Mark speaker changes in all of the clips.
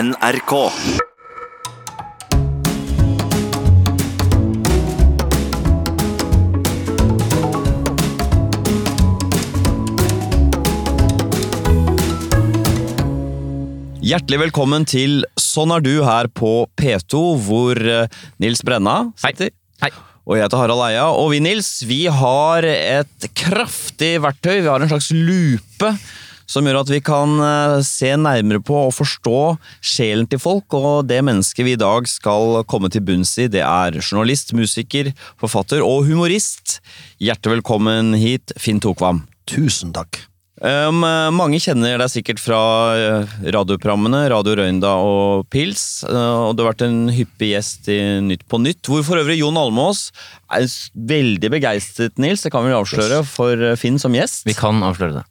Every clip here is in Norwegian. Speaker 1: NRK.
Speaker 2: Hjertelig velkommen til Sånn er du her på P2, hvor eh, Nils Brenna sitter.
Speaker 3: Hei.
Speaker 2: Og jeg heter Harald Eia, og vi Nils, vi har et kraftig verktøy. Vi har en slags lupe som gjør at vi kan eh, se nærmere på og forstå sjelen til folk. Og det mennesket vi i dag skal komme til bunns i, det er journalist, musiker, forfatter og humorist. Hjertelig velkommen hit, Finn Tokvam.
Speaker 4: Tusen takk.
Speaker 2: Um, mange kjenner deg sikkert fra eh, radioprogrammene Radio Røynda og Pils. eh, og du har vært en hyppig gjest i Nytt på Nytt, hvor for øvrig Jon Almås er s- veldig begeistret, Nils. Det kan vi avsløre for eh, Finn som gjest.
Speaker 3: Vi kan avsløre det.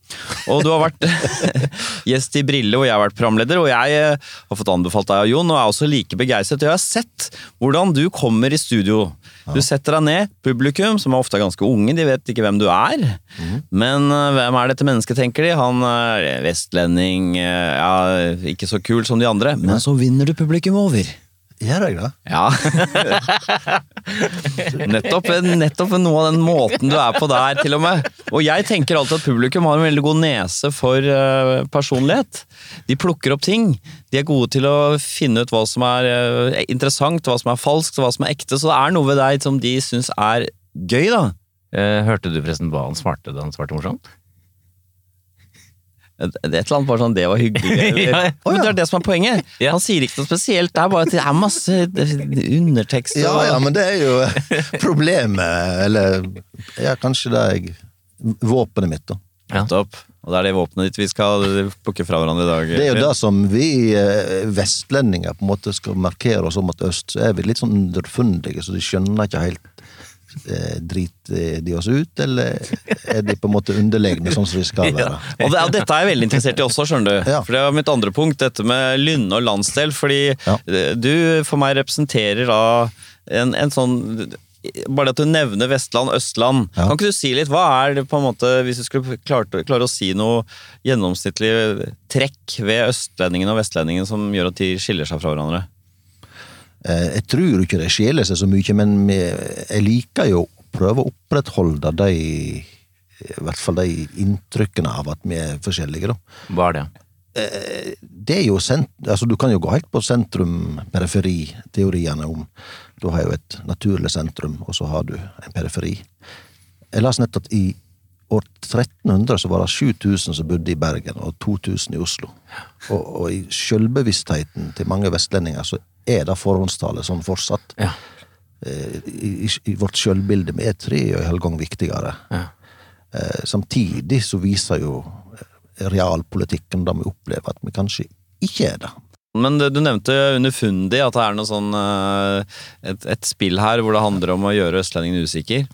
Speaker 2: Og du har vært gjest i Brille, og jeg har vært programleder. Og jeg eh, har fått anbefalt deg av Jon, og er også like begeistret. Og jeg har sett hvordan du kommer i studio. Du setter deg ned, publikum, som er ofte er ganske unge, de vet ikke hvem du er. Men eh, hvem er dette mennesket, tenker de. Han er vestlending, eh, ja, ikke så kul som de andre. Men så vinner du publikum over.
Speaker 4: Gjør jeg det?
Speaker 2: Ja. nettopp, nettopp noe av den måten du er på der, til og med. Og jeg tenker alltid at publikum har en veldig god nese for eh, personlighet. De plukker opp ting. De er gode til å finne ut hva som er eh, interessant, hva som er falskt, hva som er ekte. Så det er noe ved deg som de syns er gøy, da.
Speaker 3: Eh, hørte du forresten hva han svarte da han svarte morsomt?
Speaker 2: Et et eller annet bare sånn, det var hyggelig. Eller,
Speaker 3: Ja, ja.
Speaker 2: Men det er det som er poenget.
Speaker 3: Ja.
Speaker 2: Han sier ikke noe spesielt. Det er bare at det er masse undertekst.
Speaker 4: Ja,
Speaker 2: og-
Speaker 4: ja, men det er jo eh, problemet, eller ja, kanskje det er jeg, våpenet mitt, da.
Speaker 2: Nettopp. Og det er det våpenet ditt vi skal plukke fra hverandre i dag.
Speaker 4: Det er jo det som vi eh, vestlendinger på en måte skal markere oss om at øst, så er vi litt sånn underfundige, så de skjønner ikke helt eh, Driter de oss ut, eller er de på en måte underlegne, sånn som vi skal være?
Speaker 2: Og det, og dette er jeg veldig interessert i også, skjønner du.
Speaker 4: Ja.
Speaker 2: For det var mitt andre punkt, dette med lynne og landsdel. Fordi
Speaker 4: Ja.
Speaker 2: eh, du for meg representerer da en, en sånn bare det at du nevner Vestland, Østland.
Speaker 4: Ja.
Speaker 2: Kan ikke du si litt, hva er det på en måte, hvis du skulle klare, klare å si noe gjennomsnittlig trekk ved østlendingen og vestlendingen som gjør at de skiller seg fra hverandre?
Speaker 4: Eh, Jeg tror ikke det skjeler seg så mye, men vi- jeg liker jo å prøve å opprettholde de i hvert fall de inntrykkene av at vi er forskjellige, da.
Speaker 3: Hva er det?
Speaker 4: Det er jo sent, altså Du kan jo gå helt på sentrum-periferi-teoriene om Du har jo et naturlig sentrum, og så har du en periferi. Jeg las nett at i år 1300 så var det 7000 som bodde i Bergen, og 2000 i Oslo. Og, og i sjølbevisstheten til mange vestlendinger så er det forhåndstallet sånn fortsatt
Speaker 3: Ja.
Speaker 4: eh, i, i, i vårt sjølbilde. Vi er tre og en halv gang viktigere.
Speaker 3: Ja.
Speaker 4: Eh, samtidig så viser jo eh, realpolitikken da vi opplever at vi kanskje ikke er det.
Speaker 2: Men det- du nevnte underfundig at det er noe sånn eh, et, et spill her hvor det handler om å gjøre østlendingen usikker.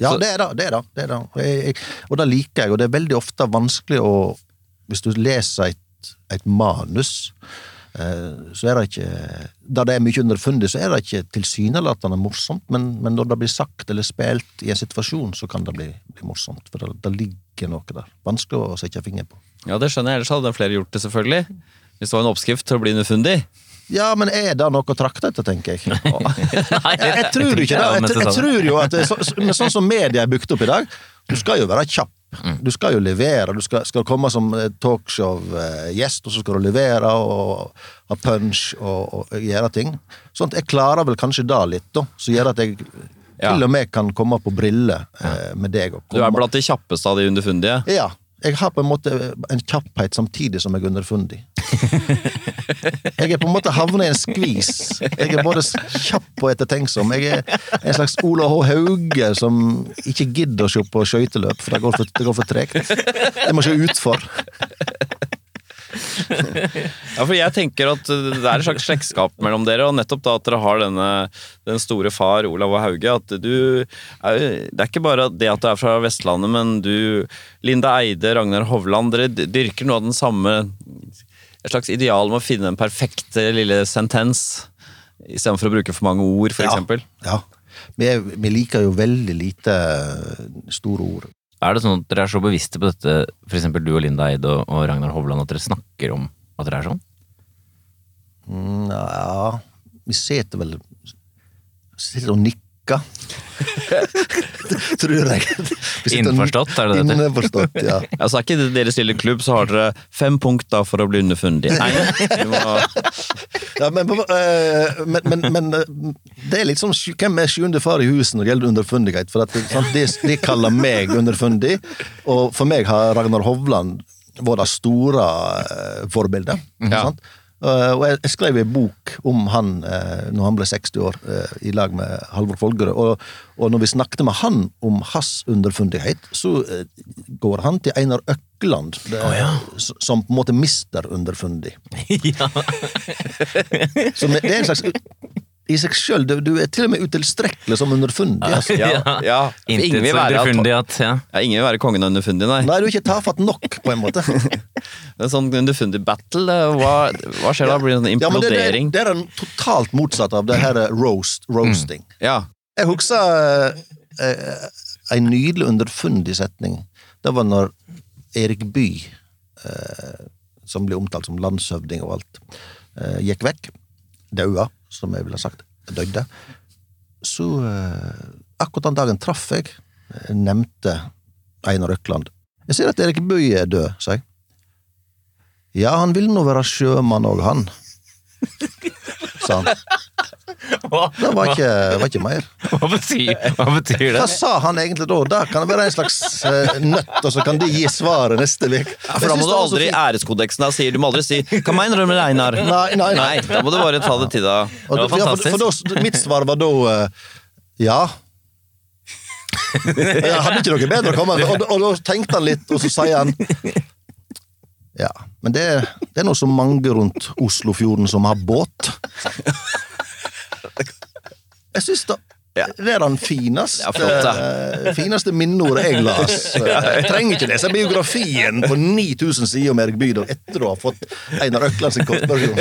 Speaker 4: Ja,
Speaker 2: Så-
Speaker 4: det er det. det, er det, det, er det. Og Jeg, jeg, og det liker jeg, og det er veldig ofte vanskelig å Hvis du leser et, et manus, eh, så er det ikke Da det er mye underfundig, så er det ikke tilsynelatende morsomt, men, men når det blir sagt eller spilt i en situasjon, så kan det bli, bli morsomt. For det, det ligger noe der. Vanskelig å sette fingeren på.
Speaker 2: Ja, det skjønner jeg. Ellers hadde flere gjort det, selvfølgelig. Hvis det var en oppskrift til å bli underfundig.
Speaker 4: Ja, men er det noe å trakte etter, tenker jeg.
Speaker 3: Nei,
Speaker 4: Jeg, jeg tror ikke det. Jeg, tr- jeg tror jo at det, er så, så- men sånn som media er bygd opp i dag, du skal jo være kjapp. Du skal jo levere. Du skal, skal komme som eh, talkshow-gjest, og så skal du levere og ha punch og, og gjøre ting. Sånn at jeg klarer vel kanskje det litt, da. Som gjør at jeg
Speaker 2: Ja.
Speaker 4: til og med kan komme på briller eh, med deg. Og
Speaker 2: Du
Speaker 4: komme-
Speaker 2: er blant de kjappeste av de underfundige.
Speaker 4: Ja. Jeg har på en måte en kjapphet samtidig som jeg er underfundig. Jeg er på en måte havnet i en skvis. Jeg er både kjapp og ettertenksom. Jeg er en slags Ola H. Hauge som ikke gidder å se på skøyteløp, for det går for, det går for tregt. Jeg må se utfor.
Speaker 2: Ja, for jeg tenker at det er et slags slektskap mellom dere, og nettopp da at dere har denne den store far, Olav og Hauge, at du er, Det er ikke bare det at du er fra Vestlandet, men du, Linda Eide, Ragnar Hovland, dere dyrker noe av den samme Et slags ideal med å finne den perfekte lille sentens, istedenfor å bruke for mange ord, for eksempel.
Speaker 4: Ja. Vi, er, vi liker jo veldig lite store ord.
Speaker 3: Er det sånn at dere er så bevisste på dette, for eksempel du og Linda Eid og, og Ragnar Hovland, at dere snakker om at dere er sånn?
Speaker 4: Mm, Ja Vi sitter vel Sitter og nikker. Tror jeg. Vi sitter og-
Speaker 3: Innforstått, er det det heter?
Speaker 4: Innforstått, ja.
Speaker 2: Altså, er ikke det deres lille klubb, så har dere fem punkt da for å bli underfundig. Nei, du må...
Speaker 4: ja men, eh, men, men, men eh, det er litt sånn sju- Hvem er sjuende far i huset når det gjelder underfundighet? For at, sant, de, de kaller meg underfundig, og for meg har Ragnar Hovland vært det store eh, forbildet. sant? Eh, og jeg, jeg skrev en bok om han eh, når han ble 60 år, eh, i lag med Halvor Folgerød. Og, og når vi snakket med han om hans underfundighet, så eh, går han til Einar Økland, det- s- som på en måte mister underfundig.
Speaker 3: ja.
Speaker 4: Som er- det er en slags I seg sjøl, du, du er til og med utilstrekkelig som underfundig. Altså.
Speaker 2: Ja, ja.
Speaker 3: Intet
Speaker 2: Ingen vil
Speaker 3: så
Speaker 2: være-
Speaker 3: underfundighet. Ja.
Speaker 2: Ja, ingen vil være kongen av underfundig, nei.
Speaker 4: Nei, du er ikke tafatt nok, på en måte.
Speaker 2: Det er sånn underfundig battle. eh, Hva, hva skjer da? Blir det sånn
Speaker 4: Ja, men det, det,
Speaker 2: implodering?
Speaker 4: det er den totalt motsatt av det her eh, roast, roasting.
Speaker 2: Ja.
Speaker 4: Jeg husker eh, ei nydelig underfundig setning. Det var når Erik Bye, eh, som blir omtalt som landshøvding og alt, eh, gikk vekk. Daua, som jeg ville ha sagt. Døde. Så eh, akkurat den dagen traff jeg, eh, nevnte Einar Økland. Jeg ser at Erik Bye er død, sa jeg. Ja, han vil nå være sjømann òg, han. Sa han. Det var ikke, var ikke mer.
Speaker 3: Hva betyr, hva betyr det?
Speaker 4: Hva sa han egentlig da? Da kan det være en slags eh, nøtt, og så kan de gi svaret neste uke.
Speaker 2: Ja, For da må du aldri i æreskodeksen da sier du må aldri si 'Hva mener du med Einar?'
Speaker 4: Nei, nei, nei.
Speaker 2: Da må du bare ta det til deg.
Speaker 4: og,
Speaker 3: Det var
Speaker 4: ja, for, for da, Mitt svar var da eh, ja. Jeg hadde ikke noe bedre å komme med. Og, da- og da tenkte han litt, og så sier han Ja, men det, det er nå så mange rundt Oslofjorden som har båt. Jeg syns da
Speaker 2: Ja.
Speaker 4: det er den fineste,
Speaker 2: Ja, flott,
Speaker 4: eh, fineste minneordet jeg las. Jeg trenger ikke lese biografien på 9000 sider om Erik Bydal etter å ha fått Einar Økland sin kortversjon.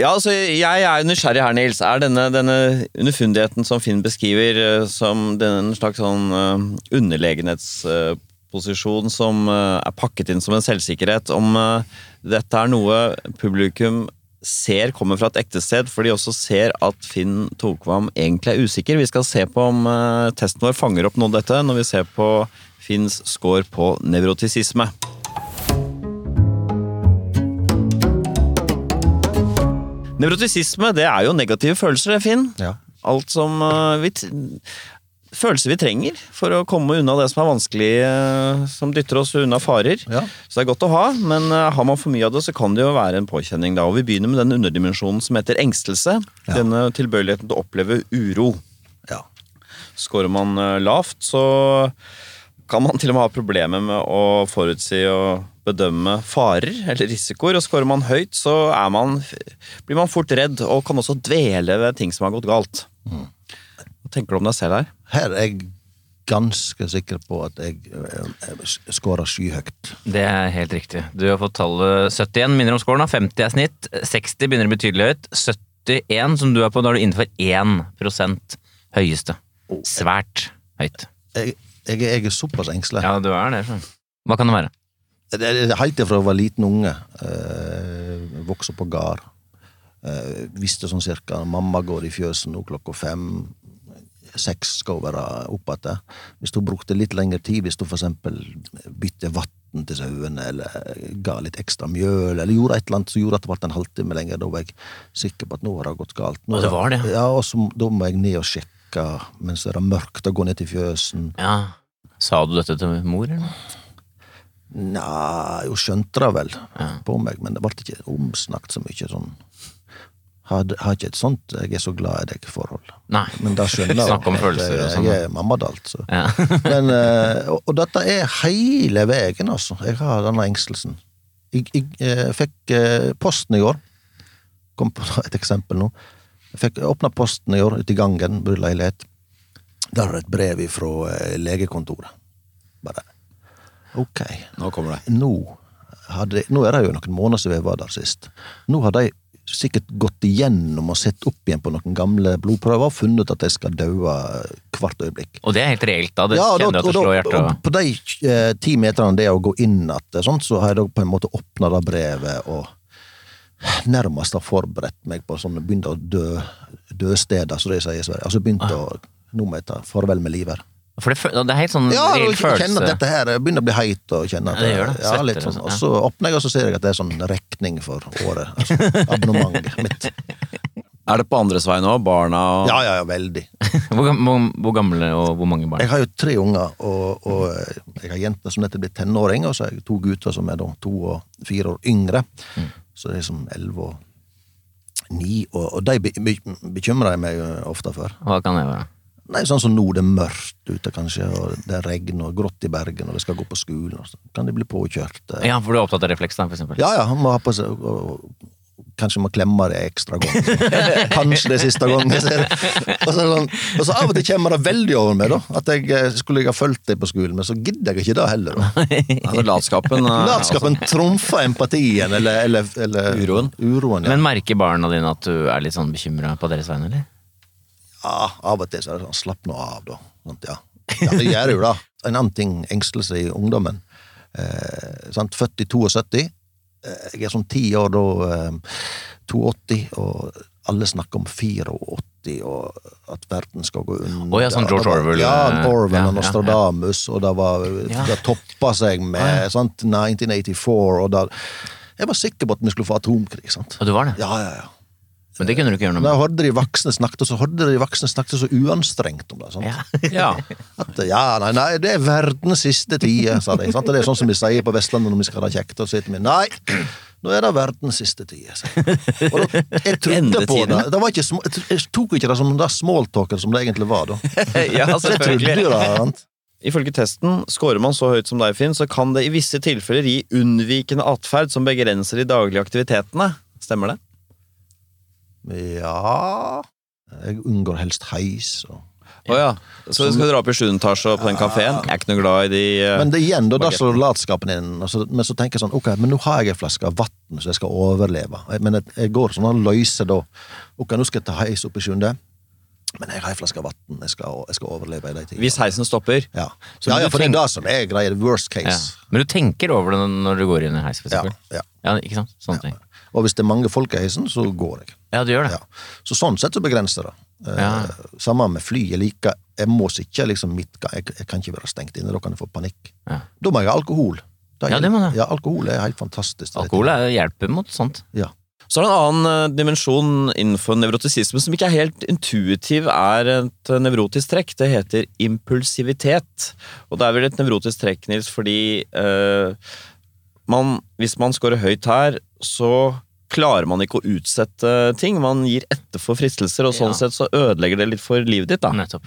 Speaker 2: Ja, altså, jeg er nysgjerrig her, Nils. Er denne, denne underfundigheten som Finn beskriver, eh, som den- en slags sånn eh, underlegenhetsposisjon som eh, er pakket inn som en selvsikkerhet, om eh, dette er noe publikum ser kommer fra et ekte sted, for de også ser at Finn Tokvam egentlig er usikker. Vi skal se på om eh, testen vår fanger opp noe av dette, når vi ser på Finns score på nevrotisisme. Nevrotisisme det er jo negative følelser, det, Finn.
Speaker 4: Ja.
Speaker 2: Alt som eh, vi t Følelser vi trenger for å komme unna det som er vanskelig, eh, som dytter oss unna farer.
Speaker 4: Ja.
Speaker 2: Så det er godt å ha, men eh, har man for mye av det, så kan det jo være en påkjenning. da. Og Vi begynner med den underdimensjonen som heter engstelse. Denne tilbøyeligheten til å oppleve uro.
Speaker 4: Ja.
Speaker 2: Skårer man eh, lavt, så kan man til og med ha problemer med å forutsi og bedømme farer eller risikoer. Og skårer man høyt, så er man, blir man fort redd og kan også dvele ved ting som har gått galt. Hva tenker du om deg selv her?
Speaker 4: Her er jeg ganske sikker på at jeg eh, skårer skyhøyt.
Speaker 3: Det er helt riktig. Du har fått tallet 71 minner om scoren. da. 50 er snitt. 60 begynner å bli tydelig høyt. 71 som du er på, da er du innenfor 1 høyeste. Svært høyt.
Speaker 4: Jeg, jeg, jeg er såpass engstelig.
Speaker 3: Ja, du er det. så. Hva kan det være?
Speaker 4: Det er Helt fra jeg var liten unge. Eh, vokste opp på gard. Eh, visste sånn cirka Mamma går i fjøset nå klokka fem. Seks skal hun være oppe igjen. Hvis hun brukte litt lengre tid, hvis hun for eksempel bytte vann til sauene, eller ga litt ekstra mjøl, eller gjorde et eller annet som gjorde at det ble en halvtime lenger, da var jeg sikker på at nå har det gått galt. Nå
Speaker 3: Å, det var det?
Speaker 4: Ja, og så, da må jeg ned og sjekke mens det er mørkt, og gå ned til fjøsen.
Speaker 3: Ja. Sa du dette til mor, eller?
Speaker 4: Nei, hun skjønte det vel på meg, men det ble ikke omsnakket så mye sånn. Har, har ikke et sånt 'jeg er så glad i deg'-forhold.
Speaker 3: Nei.
Speaker 4: Men det skjønner jeg.
Speaker 3: Snakk om
Speaker 4: at eh,
Speaker 3: følelser og sånn,
Speaker 4: Jeg er mammadalt, så.
Speaker 3: Ja.
Speaker 4: Men, eh, og, og dette er hele veien, altså. Jeg har denne engstelsen. Jeg, jeg eh, fikk eh, posten i går. Kom på et eksempel nå. Jeg fikk åpna posten i år ute i gangen, bor i leilighet. Der er et brev fra eh, legekontoret. Bare ok
Speaker 2: Nå kommer det.
Speaker 4: nå, hadde, nå er det jo noen måneder siden jeg var der sist. Nå har de sikkert gått igjennom og sett opp igjen på noen gamle blodprøver og funnet ut at de skal daue hvert øyeblikk.
Speaker 3: Og det er helt reelt, da. Det
Speaker 4: Ja, og da-
Speaker 3: kjenner du at det
Speaker 4: og da-
Speaker 3: slår hjertet.
Speaker 4: og På de eh, ti meterne det er å gå inn at, sånt, så har jeg da på en måte åpna det brevet og nærmest har forberedt meg på sånne begynt å dø dødsteder, som de sier i Sverige. Altså begynt
Speaker 3: Ah.
Speaker 4: å Nå må jeg ta farvel med livet. her.
Speaker 3: For det, fø- det er helt sånn
Speaker 4: Ja,
Speaker 3: reell
Speaker 4: og kjenne at
Speaker 3: følelse.
Speaker 4: dette her jeg begynner å bli heit og kjenne at
Speaker 3: Ja, det gjør det.
Speaker 4: Ja,
Speaker 3: Svetter
Speaker 4: litt
Speaker 3: og
Speaker 4: sånn.
Speaker 3: sånn,
Speaker 4: Og så åpner jeg, og så ser jeg at det er sånn rekning for året. Altså, abonnementet mitt.
Speaker 2: Er det på andres vei nå? Barna og
Speaker 4: Ja, ja, ja, veldig.
Speaker 3: Hvor, gam- hvor, hvor gamle og hvor mange barn?
Speaker 4: Jeg har jo tre unger, og, og jeg har jenter som nettopp blir tenåring, og så har jeg to gutter som er da to og fire år yngre.
Speaker 3: Mm.
Speaker 4: Så det er som elleve og ni, og, og de be- be- bekymrer jeg meg jo ofte for.
Speaker 3: Hva kan det være?
Speaker 4: Nei, sånn som nå, det er mørkt ute kanskje, og det er regn og grått i Bergen, og de skal gå på skolen, og så kan de bli påkjørt. eh,
Speaker 3: Ja, for du er opptatt av refleks, da, for eksempel.
Speaker 4: Ja, ja, han må ha på seg og- og- Kanskje må klemme det ekstra gang. Kanskje det er siste gangen. jeg ser det. Og så, er det sånn, og så av og til kommer det veldig over meg, da. At jeg eh, skulle jeg ha fulgt deg på skolen, men så gidder jeg ikke det heller. da.
Speaker 2: Altså, latskapen? eh,
Speaker 4: Latskapen trumfer empatien, eller, eller, eller
Speaker 2: Uroen.
Speaker 4: uroen, ja.
Speaker 3: Men merker barna dine at du er litt sånn bekymra på deres vegne, eller?
Speaker 4: ja. Av og til så er det sånn, slapp nå av, da. Sånt, ja. ja, det gjør jo det. En annen ting, engstelse i ungdommen. Eh, sant? Født i 72. Eh, Jeg er sånn ti år da, eh, 82, og alle snakker om 84, og at verden skal gå under.
Speaker 3: Å ja, sånn
Speaker 4: Det
Speaker 3: George
Speaker 4: var-
Speaker 3: Orwell,
Speaker 4: Ja,
Speaker 3: eh,
Speaker 4: Orwell
Speaker 3: ja,
Speaker 4: og
Speaker 3: ja, ja.
Speaker 4: Nostradamus, og det var
Speaker 3: Ja.
Speaker 4: Det toppa seg med sant? 1984, og da Jeg var sikker på at vi skulle få atomkrig, sant?
Speaker 3: Og du var det?
Speaker 4: Ja, ja, ja.
Speaker 3: Men det kunne du ikke gjøre noe
Speaker 4: Da
Speaker 3: med.
Speaker 4: hørte de voksne snakket, og så hørte de voksne snakket så uanstrengt om det. sant?
Speaker 3: Ja.
Speaker 2: altså, Ja.
Speaker 4: At ja, nei, nei, det er verdens siste tide, sa de. sant? Og det er sånn som vi sier på Vestlandet når vi skal ha det kjekt. Og så sier vi nei, nå er det verdens siste tide. sa de. Og da, jeg trodde på det. det var ikke, sm- jeg tok ikke det som det smalltalken som det egentlig var, da.
Speaker 2: ja,
Speaker 4: Så jeg trodde
Speaker 2: selvfølgelig.
Speaker 4: jo det. sant?
Speaker 2: Ifølge testen scorer man så høyt som deg, Finn, så kan det i visse tilfeller gi unnvikende atferd som begrenser de daglige aktivitetene. Stemmer det?
Speaker 4: Ja Jeg unngår helst heis. og
Speaker 2: Å ja. Så du skal dra opp i 7. etasje og på den kafeen? Jeg er ikke noe glad i de eh,
Speaker 4: Men det er igjen, da, der slår latskapen inn. og så- Men så tenker jeg sånn, ok, men nå har jeg en flaske av vann, så jeg skal overleve. Men jeg, jeg går sånn og løser da. Ok, nå skal jeg ta heis opp i sjunde, men jeg har en flaske av vann, jeg, skal- jeg skal overleve i de tidene.
Speaker 2: Hvis heisen stopper.
Speaker 4: Ja.
Speaker 3: Så
Speaker 4: Ja,
Speaker 3: du
Speaker 4: ja, for det er
Speaker 3: tenker-
Speaker 4: det som er greia, det worst
Speaker 3: Ja.
Speaker 4: case.
Speaker 3: Men du tenker over det når du går inn i en heis, for
Speaker 4: Ja,
Speaker 3: eksempel?
Speaker 4: ja.
Speaker 3: Ja, ikke sant? Sånne ting.
Speaker 4: Og hvis det er mange folk i heisen, så går jeg.
Speaker 3: Ja, du gjør det.
Speaker 4: Ja. Så sånn sett så begrenser det. Eh,
Speaker 3: Ja.
Speaker 4: Samme med fly, jeg liker, jeg må sitte liksom midt, jeg, jeg kan ikke være stengt inne, da kan jeg få panikk.
Speaker 3: Ja.
Speaker 4: Da må jeg ha alkohol. Da
Speaker 3: Ja,
Speaker 4: er-
Speaker 3: det må du.
Speaker 4: Ja, alkohol er helt fantastisk.
Speaker 3: Alkohol er- hjelper mot sånt.
Speaker 4: Ja.
Speaker 2: Så er det en annen eh, dimensjon innenfor nevrotisisme som ikke er helt intuitiv er et eh, nevrotisk trekk. Det heter impulsivitet. Og det er vel et nevrotisk trekk, Nils, fordi eh, man, hvis man scorer høyt her, så klarer man ikke å utsette ting. Man gir etter for fristelser, og sånn
Speaker 3: Ja.
Speaker 2: sett så ødelegger det litt for livet ditt. da.
Speaker 3: Nettopp.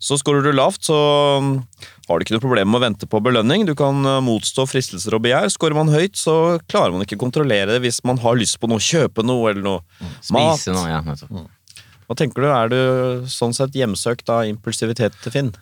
Speaker 2: Så scorer du lavt, så um, har du ikke noe problem med å vente på belønning. Du kan eh, motstå fristelser og begjær. Scorer man høyt, så klarer man ikke å kontrollere det hvis man har lyst på noe. Kjøpe noe eller Mm, noe. Mat.
Speaker 3: Spise noe, ja. Nettopp.
Speaker 2: Hva tenker du? Er du sånn sett hjemsøkt av impulsivitet til Finn?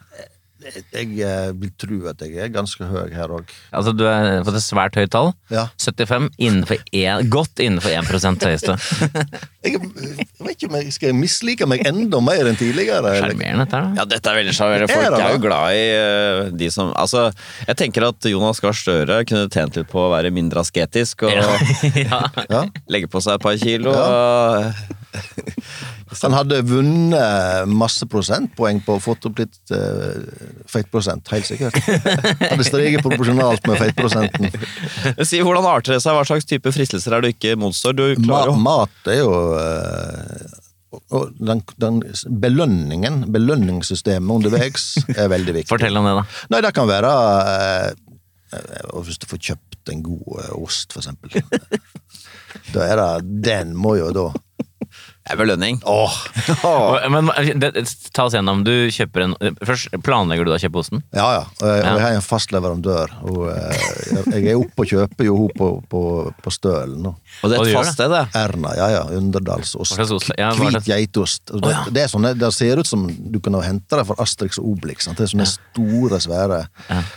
Speaker 4: Jeg, jeg eh, vil tro at jeg er ganske høy her òg.
Speaker 3: Altså, du har fått et svært høyt tall.
Speaker 4: Ja.
Speaker 3: 75, innenfor en, godt innenfor 1 høyeste.
Speaker 4: Jeg, jeg vet ikke om jeg skal mislike meg enda mer enn tidligere. eller?
Speaker 3: Sjarmerende, dette her, da.
Speaker 2: Ja, dette er veldig sjarmerende.
Speaker 4: Er
Speaker 2: Folk
Speaker 4: det
Speaker 2: er jo
Speaker 4: det?
Speaker 2: glad i eh, de som Altså, jeg tenker at Jonas Gahr Støre kunne tjent litt på å være mindre asketisk og
Speaker 3: Ja.
Speaker 4: Ja.
Speaker 2: legge på seg et par kilo. og-
Speaker 4: Han hadde vunnet masse prosentpoeng på å fått opp litt eh, feitprosent, helt sikkert. Hadde steget proporsjonalt med feitprosenten.
Speaker 2: Si, Hvordan arter det seg? Hva slags type fristelser er du ikke motstår? Du
Speaker 4: Ma,
Speaker 2: klarer å
Speaker 4: mat er jo eh, og- og den, den belønningen, belønningssystemet underveis, er veldig viktig.
Speaker 3: Fortell om det, da.
Speaker 4: Nei, det kan være eh, eh, Hvis du får kjøpt en god eh, ost, for eksempel. da er det Den må jo da
Speaker 2: Det er belønning.
Speaker 4: Åh!
Speaker 3: Og- Men eh, det, ta oss gjennom. Du kjøper en eh, Først planlegger du da å kjøpe osten?
Speaker 4: Ja, ja. Og jeg, og jeg har en fast leverandør. Og eh, jeg- jeg er oppe og kjøper jo henne på, på, på Stølen. nå.
Speaker 2: Og det
Speaker 3: Og
Speaker 2: er
Speaker 3: det
Speaker 2: et
Speaker 3: gjør
Speaker 2: fast sted, det.
Speaker 4: Erna, ja ja. Underdalsost.
Speaker 3: Hva slags ost? Ja, hva er det?
Speaker 4: Hvit geitost. Og Det, det, er sånne, det ser ut som du kunne hente det fra Asterix og Obelix. Sant? Det er sånne store, svære eh,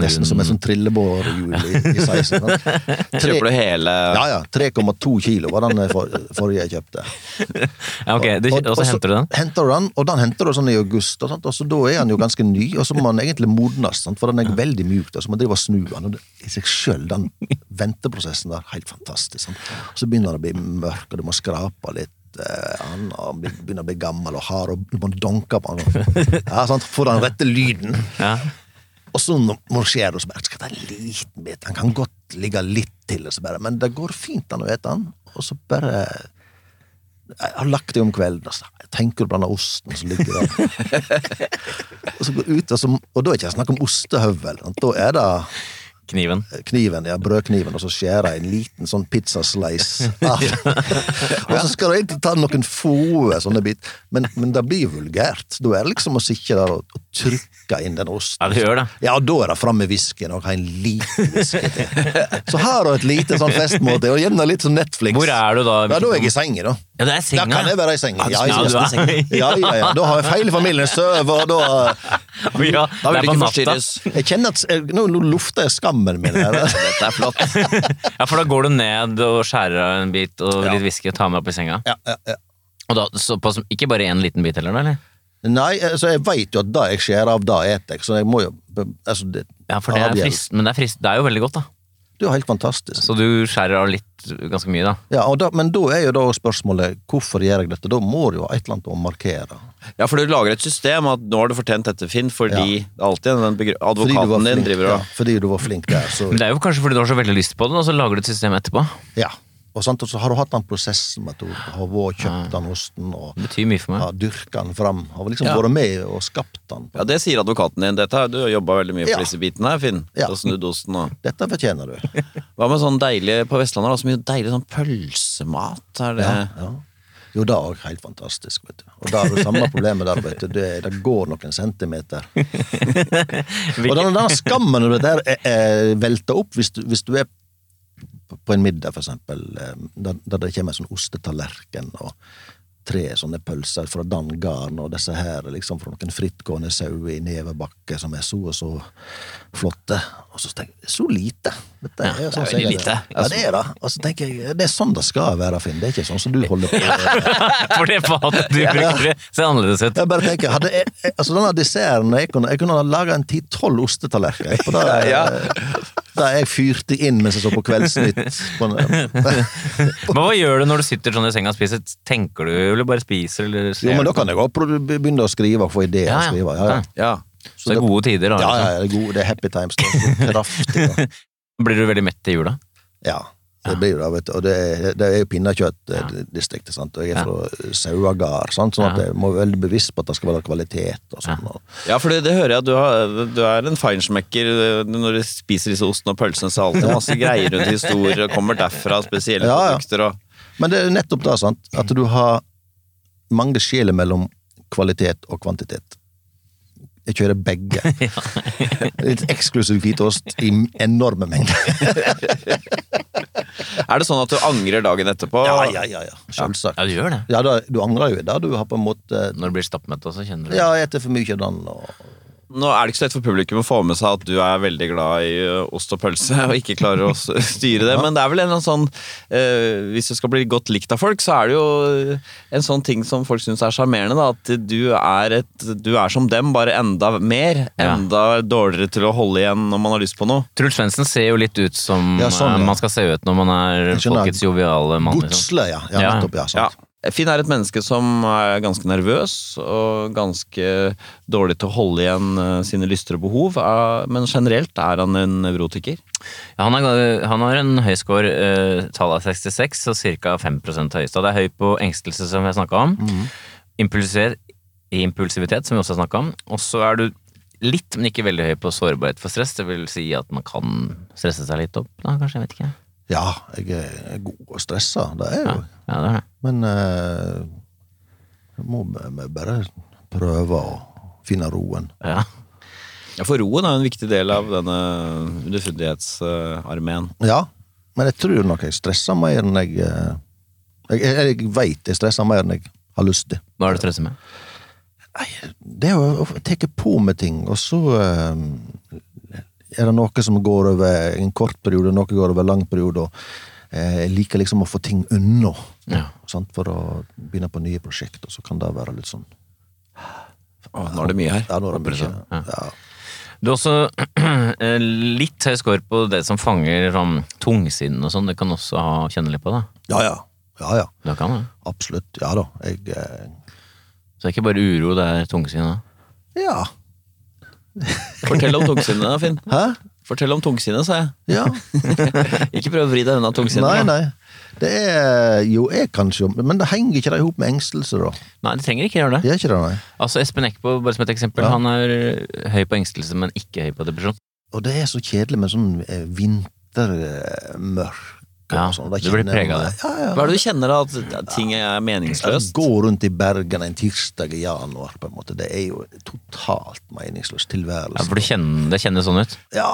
Speaker 4: Nesten som et sånn trillebårhjul i, i size, sant? Tre-
Speaker 2: Kjøper du hele
Speaker 4: Ja ja. 3,2 kilo var den for, forrige jeg kjøpte.
Speaker 3: Ja, ok, du, Og så henter du den?
Speaker 4: Henter du den, og den henter du sånn i august. Og, sånt, og så Da er den jo ganske ny, og så må den egentlig modnes, sant? for den er veldig mjuk. da, Så man driver og snur den. og det, I seg sjøl, den venteprosessen der, helt fantastisk. Sant? Og Så begynner den å bli mørk, og du må skrape litt. eh, Han og bli- begynner å bli gammel og hard, og du må donke på den. Ja, sant? Få den rette lyden.
Speaker 3: Ja.
Speaker 4: Og så marsjerer du og så bare, skal ta en liten bit. Den kan godt ligge litt til, og så bare, men det går fint an å ete den. Og så bare Jeg har lagt det om kvelden, og så tenker du på denne osten som ligger der. og så går du ut, og, så, og da er det ikke snakk om ostehøvel. sant? Da er det
Speaker 3: Kniven.
Speaker 4: kniven, ja, brødkniven, og så skjærer jeg en liten sånn pizzaslice av. og så skal du egentlig ta noen få sånne bit, men, men det blir vulgært. Da er det liksom å sitte der og, og trykke inn den osten.
Speaker 3: Ja, du gjør det.
Speaker 4: Ja, og da er det fram med whiskyen og ha en liten whisky til. Så her og et lite sånn festmåltid, og gjerne litt sånn Netflix.
Speaker 3: Hvor er du da?
Speaker 4: Ja, da er jeg i senga, da.
Speaker 3: Ja, det er senga.
Speaker 4: Da kan jeg være i senga.
Speaker 3: Ja, du
Speaker 4: ja,
Speaker 3: er i senga.
Speaker 4: ja, ja, ja. Da har jeg hele familien sovet, og da eh,
Speaker 2: Da vil
Speaker 3: Ja, det er
Speaker 2: du
Speaker 3: på
Speaker 2: ikke
Speaker 3: natta.
Speaker 2: forstyrres.
Speaker 4: Jeg kjenner at jeg, Nå nå lufter jeg skammen min her.
Speaker 2: Dette er flott.
Speaker 3: Ja, for da går du ned og skjærer av en bit og litt whisky og tar med opp i senga.
Speaker 4: Ja, ja, ja.
Speaker 3: Og da, så på, ikke bare én liten bit heller, da? eller?
Speaker 4: Nei, altså, jeg veit jo at det jeg skjærer av, det eter jeg, så jeg må jo altså, det,
Speaker 3: Ja, for det er
Speaker 4: avgjør.
Speaker 3: frist, men det er, frist, det er jo veldig godt, da.
Speaker 4: Det er jo helt fantastisk.
Speaker 3: Så du skjærer av litt, uh, ganske mye, da.
Speaker 4: Ja, og da, men da er jo da spørsmålet hvorfor gjør jeg dette? Da må det jo et eller annet å markere.
Speaker 2: Ja, for du lager et system at nå har du fortjent dette, Finn, fordi det er alltid den begru-
Speaker 4: Fordi du var
Speaker 2: advokaten din
Speaker 4: flink-
Speaker 2: driver
Speaker 4: ja,
Speaker 2: og
Speaker 4: fordi du var flink der, så
Speaker 3: Men det er jo kanskje fordi du har så veldig lyst på det, og så lager du et system etterpå.
Speaker 4: Ja. Og, sant, og så har du hatt den prosessen med at du har vært og kjøpt den osten og
Speaker 3: Det betyr mye for meg.
Speaker 4: ja, dyrka den fram. Har liksom
Speaker 2: Ja.
Speaker 4: vært med og skapt den.
Speaker 2: Ja, det sier advokaten din. Dette, har- du har jobba veldig mye for
Speaker 4: Ja.
Speaker 2: disse bitene her, Finn.
Speaker 4: Ja.
Speaker 2: Da snudde osten og
Speaker 4: Dette fortjener du.
Speaker 2: Hva med sånn deilig på Vestlandet? Da, så mye deilig sånn pølsemat. Er det
Speaker 4: Ja. Jo, det er òg helt fantastisk. vet du. Og da har du samme problemet der, vet du. Det, det går noen centimeter. Og
Speaker 3: Hvilke-
Speaker 4: den, den skammen når dette her er, er velter opp hvis du, hvis du er på- på en middag, for eksempel, eh, der, der det kommer en sånn ostetallerken og tre sånne pølser fra Dan Garn, og disse her er liksom fra noen frittgående sauer i nevebakke som er så og så flotte. Og så tenker jeg så lite! Dette er, jo sånn som
Speaker 2: det er
Speaker 4: jeg
Speaker 2: veldig
Speaker 4: er.
Speaker 2: lite.
Speaker 4: Ja, det er det. Og så tenker jeg, det er sånn det skal være, Finn. Det er ikke sånn som du holder på med.
Speaker 3: For det fatet du bruker, det ser annerledes ut.
Speaker 4: Jeg bare tenker, hadde jeg, jeg- altså denne desserten Jeg kunne, jeg kunne ha laga en ti-tolv ostetallerkener. jeg, på det-
Speaker 2: Ja.
Speaker 4: Det jeg fyrte inn mens jeg så på Kveldsnytt. På en,
Speaker 3: Men hva gjør du når du sitter sånn i senga og spiser? Tenker du, eller bare spiser, eller ser
Speaker 4: jo, men da
Speaker 3: du?
Speaker 4: kan jeg også pro- begynne å skrive og få ideer. å
Speaker 3: Ja, ja.
Speaker 4: Skrive. Ja, ja.
Speaker 2: ja.
Speaker 3: Så det er gode tider, da.
Speaker 4: Ja,
Speaker 3: liksom.
Speaker 4: ja, ja, det er, god, det er happy times. Det er så kraftig. da.
Speaker 3: Blir du veldig mett i jula?
Speaker 4: Ja. Det blir jo det, vet du. Og det er, det er jo pinnekjøttdistriktet, sant. Og jeg er fra Sauagard, sant. Sånn at jeg må være veldig bevisst på at det skal være kvalitet og sånn. Og,
Speaker 2: ja, for det, det hører jeg at du, har, du er en feinschmecker eh, når du spiser disse ostene og pølsene. Så er det alltid masse greier rundt historier og kommer derfra, spesielle
Speaker 4: Ja, ja.
Speaker 2: produkter og
Speaker 4: Men det er nettopp det, sant? at du har mange skjeler mellom kvalitet og kvantitet. Jeg kjører begge. Litt eksklusiv hvitost i enorme mengder.
Speaker 2: Er det sånn at du angrer dagen etterpå?
Speaker 4: ja, ja. Selvsagt.
Speaker 3: Ja, du gjør det.
Speaker 4: Ja, da, du angrer jo i det. Du har på en måte
Speaker 3: Når du blir stappmett også, kjenner du
Speaker 4: Ja, etter for mye av den og
Speaker 2: Nå er det ikke så lett for publikum å få med seg at du er veldig glad i ø, ost og pølse, og ikke klarer å s- styre det, men det er vel en eller annen sånn ø, Hvis du skal bli godt likt av folk, så er det jo ø, en sånn ting som folk syns er sjarmerende, da, at du er, et, du er som dem, bare enda mer.
Speaker 3: Ja.
Speaker 2: Enda dårligere til å holde igjen når man har lyst på noe.
Speaker 3: Truls Svendsen ser jo litt ut som
Speaker 4: Ja, sånn,
Speaker 3: eh,
Speaker 4: ja.
Speaker 3: man skal se ut når man er
Speaker 4: Jeg skjønner.
Speaker 3: folkets joviale mann. Liksom.
Speaker 4: Godsle, ja. ja.
Speaker 3: Ja.
Speaker 4: Nettopp, ja.
Speaker 2: Ja.
Speaker 4: Sant.
Speaker 2: Finn er et menneske som er ganske nervøs og ganske dårlig til å holde igjen ø, sine lyster og behov, eh, men generelt er han en nevrotiker.
Speaker 3: Ja, Han, er, han har en høy score, eh, tallet er 66, så ca. 5 høyest. Og Det er høy på engstelse, som vi har snakka om.
Speaker 2: Mhm.
Speaker 3: Impulser, impulsivitet, som vi også har snakka om. Og så er du litt, men ikke veldig høy på sårbarhet for stress. Det vil si at man kan stresse seg litt opp, da, kanskje. Jeg vet ikke.
Speaker 4: Ja, jeg er god og stressa, det er jeg jo.
Speaker 3: Ja, det er det.
Speaker 4: Men eh, jeg må b- b- bare prøve å finne roen.
Speaker 3: Ja.
Speaker 2: Ja, For roen er jo en viktig del av denne underfundighetsarmeen.
Speaker 4: Ja, men jeg tror nok jeg stresser mer enn jeg eh, Jeg, jeg, jeg veit jeg stresser mer enn jeg har lyst til.
Speaker 3: Hva er det du stresser med?
Speaker 4: Nei, det er jo å ta på med ting, og så eh, er det noe som går over en kort periode, noe går over en lang periode, og eh, jeg liker liksom å få ting unna.
Speaker 3: Ja.
Speaker 4: Sant? For å begynne på nye prosjekt, og så kan det være litt sånn
Speaker 2: Å, nå er det mye her.
Speaker 4: Ja, nå er det mye.
Speaker 3: Ja.
Speaker 4: Ja.
Speaker 3: Du har også eh, litt høy score på det som fanger sånn tungsinn og sånn. Det kan også ha, kjenne litt på det.
Speaker 4: Ja, ja. ja, ja.
Speaker 3: Det kan det.
Speaker 4: Absolutt. Ja da. Jeg eh,
Speaker 3: Så det er ikke bare uro, det er tungsinn òg.
Speaker 4: Ja.
Speaker 2: Fortell om tungsinnet, da, Finn.
Speaker 4: Hæ?
Speaker 2: Fortell om tungsinnet, sa jeg.
Speaker 4: Ja.
Speaker 2: Ikke prøv å vri deg unna tungsinnet.
Speaker 4: Nei,
Speaker 2: da.
Speaker 4: nei. Det er jo jeg, kanskje, men det henger ikke det i hop med engstelse, da?
Speaker 3: Nei, det trenger ikke gjøre det.
Speaker 4: Det gjør ikke det, nei.
Speaker 3: Altså Espen Eckbo, bare som et eksempel,
Speaker 4: Ja.
Speaker 3: han er høy på engstelse, men ikke høy på depresjon.
Speaker 4: Og det er så kjedelig med sånn eh, vintermørk
Speaker 3: Ja,
Speaker 4: og sånn. Da
Speaker 3: du blir
Speaker 4: kjenner jeg
Speaker 3: preget av
Speaker 4: meg-
Speaker 3: det.
Speaker 4: Ja, ja.
Speaker 2: Hva er det du kjenner da, at ting er meningsløst?
Speaker 4: Å Gå rundt i Bergen en tirsdag i januar, på en måte, det er jo totalt meningsløs
Speaker 3: Ja,
Speaker 4: tilværelse.
Speaker 3: for du kjenner, det kjennes sånn ut.
Speaker 4: Ja.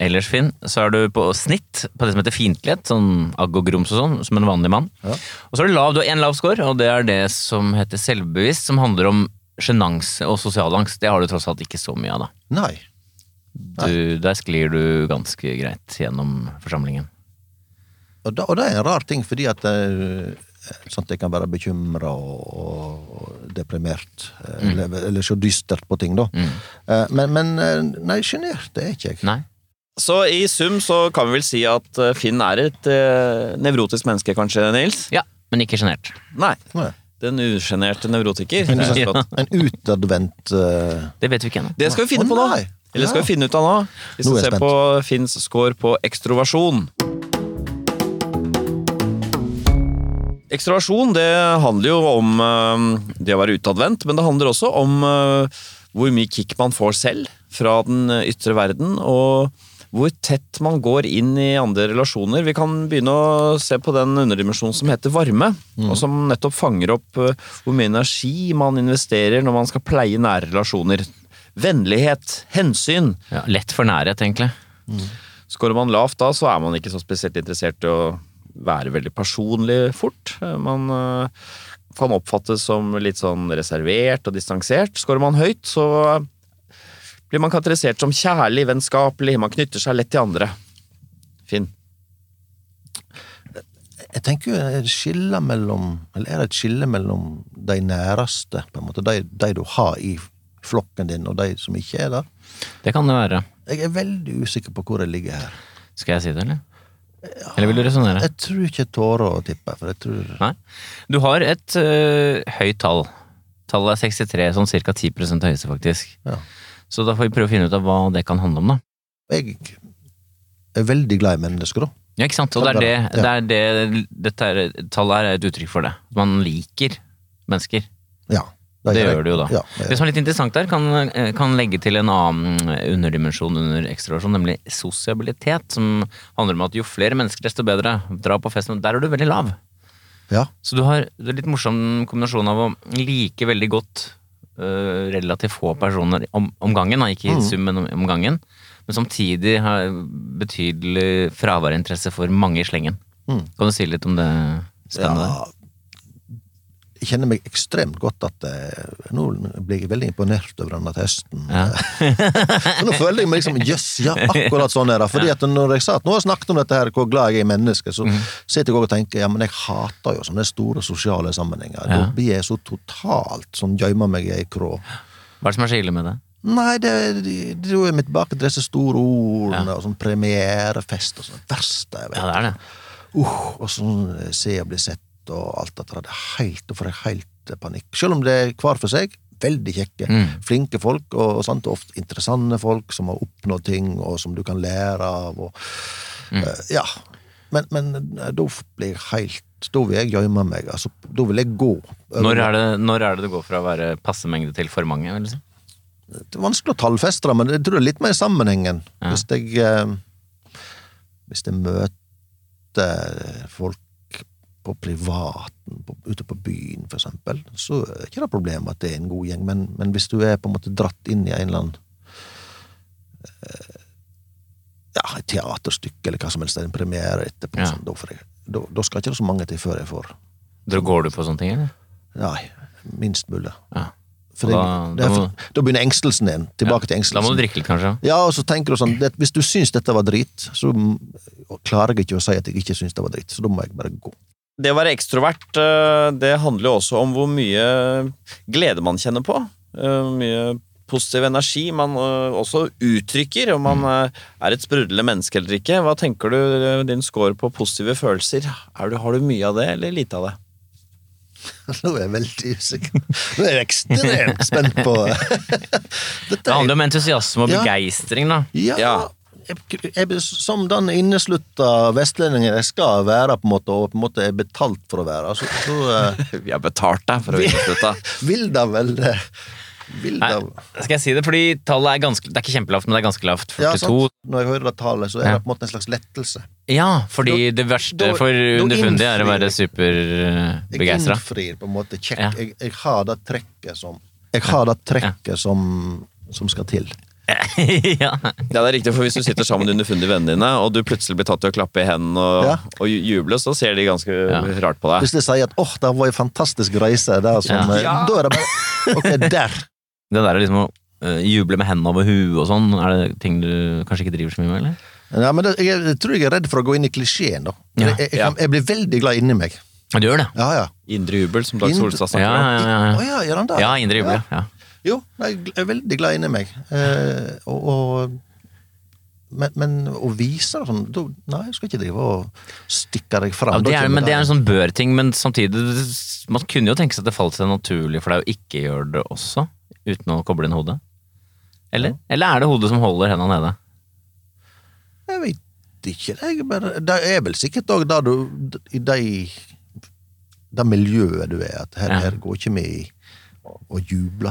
Speaker 3: Ellers, Finn, så er du på snitt på det som heter fiendtlighet, sånn agg og grums og sånn, som en vanlig mann.
Speaker 4: Ja.
Speaker 3: Og så er du lav, du har én lav score, og det er det som heter selvbevisst, som handler om sjenanse og sosial angst. Det har du tross alt ikke så mye av, da.
Speaker 4: Nei.
Speaker 3: Du, der sklir du ganske greit gjennom forsamlingen.
Speaker 4: Og, da, og det er en rar ting, fordi at eh, sånn at jeg kan være bekymra og, og, og deprimert. eh,
Speaker 3: Mm.
Speaker 4: Eller, eller så dystert på ting, da. Eh, Men, men eh, nei, sjenert det er ikke jeg.
Speaker 3: Nei?
Speaker 2: Så i sum så kan vi vel si at eh, Finn er et eh, nevrotisk menneske, kanskje, Nils?
Speaker 3: Ja, men ikke sjenert.
Speaker 2: Nei.
Speaker 4: Nei.
Speaker 2: Den usjenerte nevrotiker.
Speaker 4: En,
Speaker 2: Det er så flott.
Speaker 4: en utadvendt eh,
Speaker 3: Det vet vi ikke ennå.
Speaker 2: Det skal vi finne
Speaker 4: Å,
Speaker 2: på nå.
Speaker 4: nei.
Speaker 2: Eller skal
Speaker 4: Ja.
Speaker 2: vi finne ut av nå? Vi
Speaker 4: Nå
Speaker 2: skal
Speaker 4: er jeg
Speaker 2: se
Speaker 4: spent.
Speaker 2: på Finns score på ekstroversjon. Ekstroversjon det handler jo om eh, det å være utadvendt, men det handler også om eh, hvor mye kick man får selv fra den eh, ytre verden, og hvor tett man går inn i andre relasjoner. Vi kan begynne å se på den underdimensjonen som heter varme, og som nettopp fanger opp eh, hvor mye energi man investerer når man skal pleie nære relasjoner. Vennlighet, hensyn.
Speaker 3: Ja, lett for nærhet, egentlig.
Speaker 2: Skårer man lavt da, så er man ikke så spesielt interessert i å være veldig personlig fort. Man øh, kan oppfattes som litt sånn reservert og distansert. Skårer man høyt, så blir man karakterisert som kjærlig, vennskapelig, man knytter seg lett til andre. Finn.
Speaker 4: Jeg tenker jo er det skille mellom Eller er det et skille mellom de næreste, på en måte, de, de du har i flokken din, og de som ikke er der?
Speaker 3: Det kan det være.
Speaker 4: Jeg er veldig usikker på hvor jeg ligger her.
Speaker 3: Skal jeg si det, eller? Eller vil du resonnere?
Speaker 4: Jeg tror ikke jeg tårer å tippe, for jeg tror
Speaker 3: Nei. Du har et øh, høyt tall. Tallet er 63, sånn ca. 10 høyeste, faktisk.
Speaker 4: Ja.
Speaker 3: Så da får vi prøve å finne ut av hva det kan handle om, da.
Speaker 4: Jeg er veldig glad i mennesker, da.
Speaker 3: Ja, ikke sant? Og det er det,
Speaker 4: Ja.
Speaker 3: det, er det dette er, tallet her er et uttrykk for det. Man liker mennesker.
Speaker 4: Ja.
Speaker 3: Det gjør det jo da.
Speaker 4: Ja,
Speaker 3: Det som er litt interessant der, kan, eh, kan legge til en annen eh, underdimensjon under ekstraversjon, nemlig sosiabilitet, som handler om at jo flere mennesker, desto bedre. Dra på festen. Der er du veldig lav.
Speaker 4: ja.
Speaker 3: Så du har det er litt morsom kombinasjon av å like veldig godt øh, relativt få personer om, om gangen, da. ikke i sum, men om, om gangen, men samtidig ha betydelig fravær av interesse for mange i slengen.
Speaker 4: Mm.
Speaker 3: Kan du si litt om det spennende? der?
Speaker 4: Ja. Jeg kjenner meg ekstremt godt at eh, Nå blir jeg veldig imponert over denne testen.
Speaker 3: Ja.
Speaker 4: eh, nå føler jeg meg liksom Jøss, ja, akkurat sånn er det. Fordi at når jeg sa at nå har jeg snakket om dette her, hvor glad jeg er i mennesker,
Speaker 3: Mm.
Speaker 4: så sitter jeg også og tenker ja, men jeg hater jo sånne store sosiale sammenhenger. Da
Speaker 3: Ja.
Speaker 4: blir jeg så totalt sånn gjemmer meg i ei krå.
Speaker 3: Hva er det som er så ille med det?
Speaker 4: Nei, det, det, det er jo mitt bakgrunn, disse store ordene og sånn premierefest og sånn. Det verste jeg vet.
Speaker 3: Ja, det er det.
Speaker 4: uh, og sånn eh, se og bli sett og alt dette der. Det er helt, da får jeg helt eh, panikk. Selv om det er hver for seg, veldig kjekke,
Speaker 3: Mm.
Speaker 4: flinke folk, og, og sant, ofte interessante folk som har oppnådd ting, og som du kan lære av, og
Speaker 3: Mm.
Speaker 4: eh, ja. Men, men eh, da f- blir jeg helt Da vil jeg gjemme meg. Altså, da vil jeg gå.
Speaker 3: Når er det, når er det det går fra å være passe mengde til for mange? liksom? Vil du si?
Speaker 4: Det er vanskelig å tallfeste det, men jeg tror det er litt mer sammenhengen. Hvis jeg eh, Hvis jeg møter møter folk på privaten, på, ute på byen for eksempel, så er ikke det problem at det er en god gjeng, men, men hvis du er på en måte dratt inn i en eller annen eh, ja, et teaterstykke eller hva som helst, en premiere etterpå,
Speaker 3: Ja.
Speaker 4: sånn, da, får jeg, da, da skal ikke det så mange til før jeg får
Speaker 3: Da går du på sånne ting, eller?
Speaker 4: Nei, minst mulig.
Speaker 3: Ja.
Speaker 4: For
Speaker 3: Og
Speaker 4: da,
Speaker 3: da-
Speaker 4: det, er
Speaker 3: da må-
Speaker 4: for, da begynner engstelsen igjen. Tilbake til
Speaker 3: Da må
Speaker 4: engstelsen.
Speaker 3: du drikke litt, kanskje.
Speaker 4: Ja, og så tenker du sånn det, Hvis du syns dette var drit, så mm, klarer jeg ikke å si at jeg ikke syns det var drit. Så da må jeg bare gå.
Speaker 2: Det å være ekstrovert, eh, det handler jo også om hvor mye glede man kjenner på. Eh, Mye positiv energi man eh, også uttrykker, om man eh, er et sprudlende menneske eller ikke. Hva tenker du eh, din score på positive følelser? Er du, har du mye av det, eller lite av det?
Speaker 4: Nå er jeg veldig usikker. Nå er jeg ekstremt spent på
Speaker 3: Det
Speaker 4: Dette er
Speaker 3: handler om entusiasme og
Speaker 4: Ja.
Speaker 3: begeistring, da.
Speaker 4: Ja.
Speaker 2: Ja.
Speaker 4: Jeg, jeg, som den inneslutta vestlendingen jeg skal være, på en måte, og på en måte er betalt for å være, så, så eh,
Speaker 2: Vi har betalt deg for å underslutte.
Speaker 4: vil det vel eh, Vil
Speaker 3: Nei,
Speaker 4: det
Speaker 3: skal jeg si det? Fordi tallet er ganske Det er ikke kjempelavt, men det er ganske lavt.
Speaker 4: ja,
Speaker 3: 42.
Speaker 4: sant? Når jeg hører det tallet, så er
Speaker 3: Ja.
Speaker 4: det på en måte en slags lettelse.
Speaker 3: Ja, fordi det verste
Speaker 4: da-
Speaker 3: for
Speaker 4: da
Speaker 3: underfundige er å
Speaker 4: innfrir
Speaker 3: være eh,
Speaker 4: jeg. Jeg
Speaker 3: superbegeistra.
Speaker 4: innfrir på en måte kjekk.
Speaker 3: Ja.
Speaker 4: Jeg, jeg har det trekket som Jeg har det trekket som, som skal til.
Speaker 3: ja.
Speaker 2: Ja, det er riktig, for Hvis du sitter sammen med underfundige vennene dine, og du plutselig blir tatt i å klappe i hendene og,
Speaker 4: Ja.
Speaker 2: og ju- juble, så ser de ganske rart på deg.
Speaker 4: Hvis de sier at 'åh, det var en fantastisk reise', det er sånn,
Speaker 3: Ja.
Speaker 4: eh, da er det bare Ok, der.
Speaker 3: Det der er liksom å øh, juble med hendene over huet og sånn, er det ting du kanskje ikke driver så mye med, eller?
Speaker 4: Ja, men det, jeg, jeg tror jeg er redd for å gå inn i klisjeen, da.
Speaker 3: Ja.
Speaker 4: Jeg, jeg, jeg, kan, jeg blir veldig glad inni meg.
Speaker 3: Du gjør det.
Speaker 4: Ja, ja.
Speaker 2: Indre jubel, som Dag
Speaker 4: Indre-
Speaker 2: Solstad snakker
Speaker 3: Ja,
Speaker 2: om.
Speaker 3: ja, ja,
Speaker 4: Å
Speaker 3: ja.
Speaker 4: ja, gjør han det?
Speaker 3: ja indre jubel, ja.
Speaker 4: Jo, nei, jeg er veldig glad inni meg. Eh, og, og men, men å vise det sånn da- Nei, du skal ikke drive og stikke deg fram.
Speaker 3: ja
Speaker 4: Da
Speaker 3: det er,
Speaker 4: kommer
Speaker 3: men det
Speaker 4: det-
Speaker 3: er en sånn bør-ting, men samtidig Man kunne jo tenke seg at det falt seg naturlig for deg å ikke gjøre det også, uten å koble inn hodet. Eller, eller er det hodet som holder henda nede?
Speaker 4: Jeg vet ikke, jeg bare Det er vel sikkert òg der du I de det miljøet du er, at her,
Speaker 3: Ja.
Speaker 4: her går ikke vi i å juble.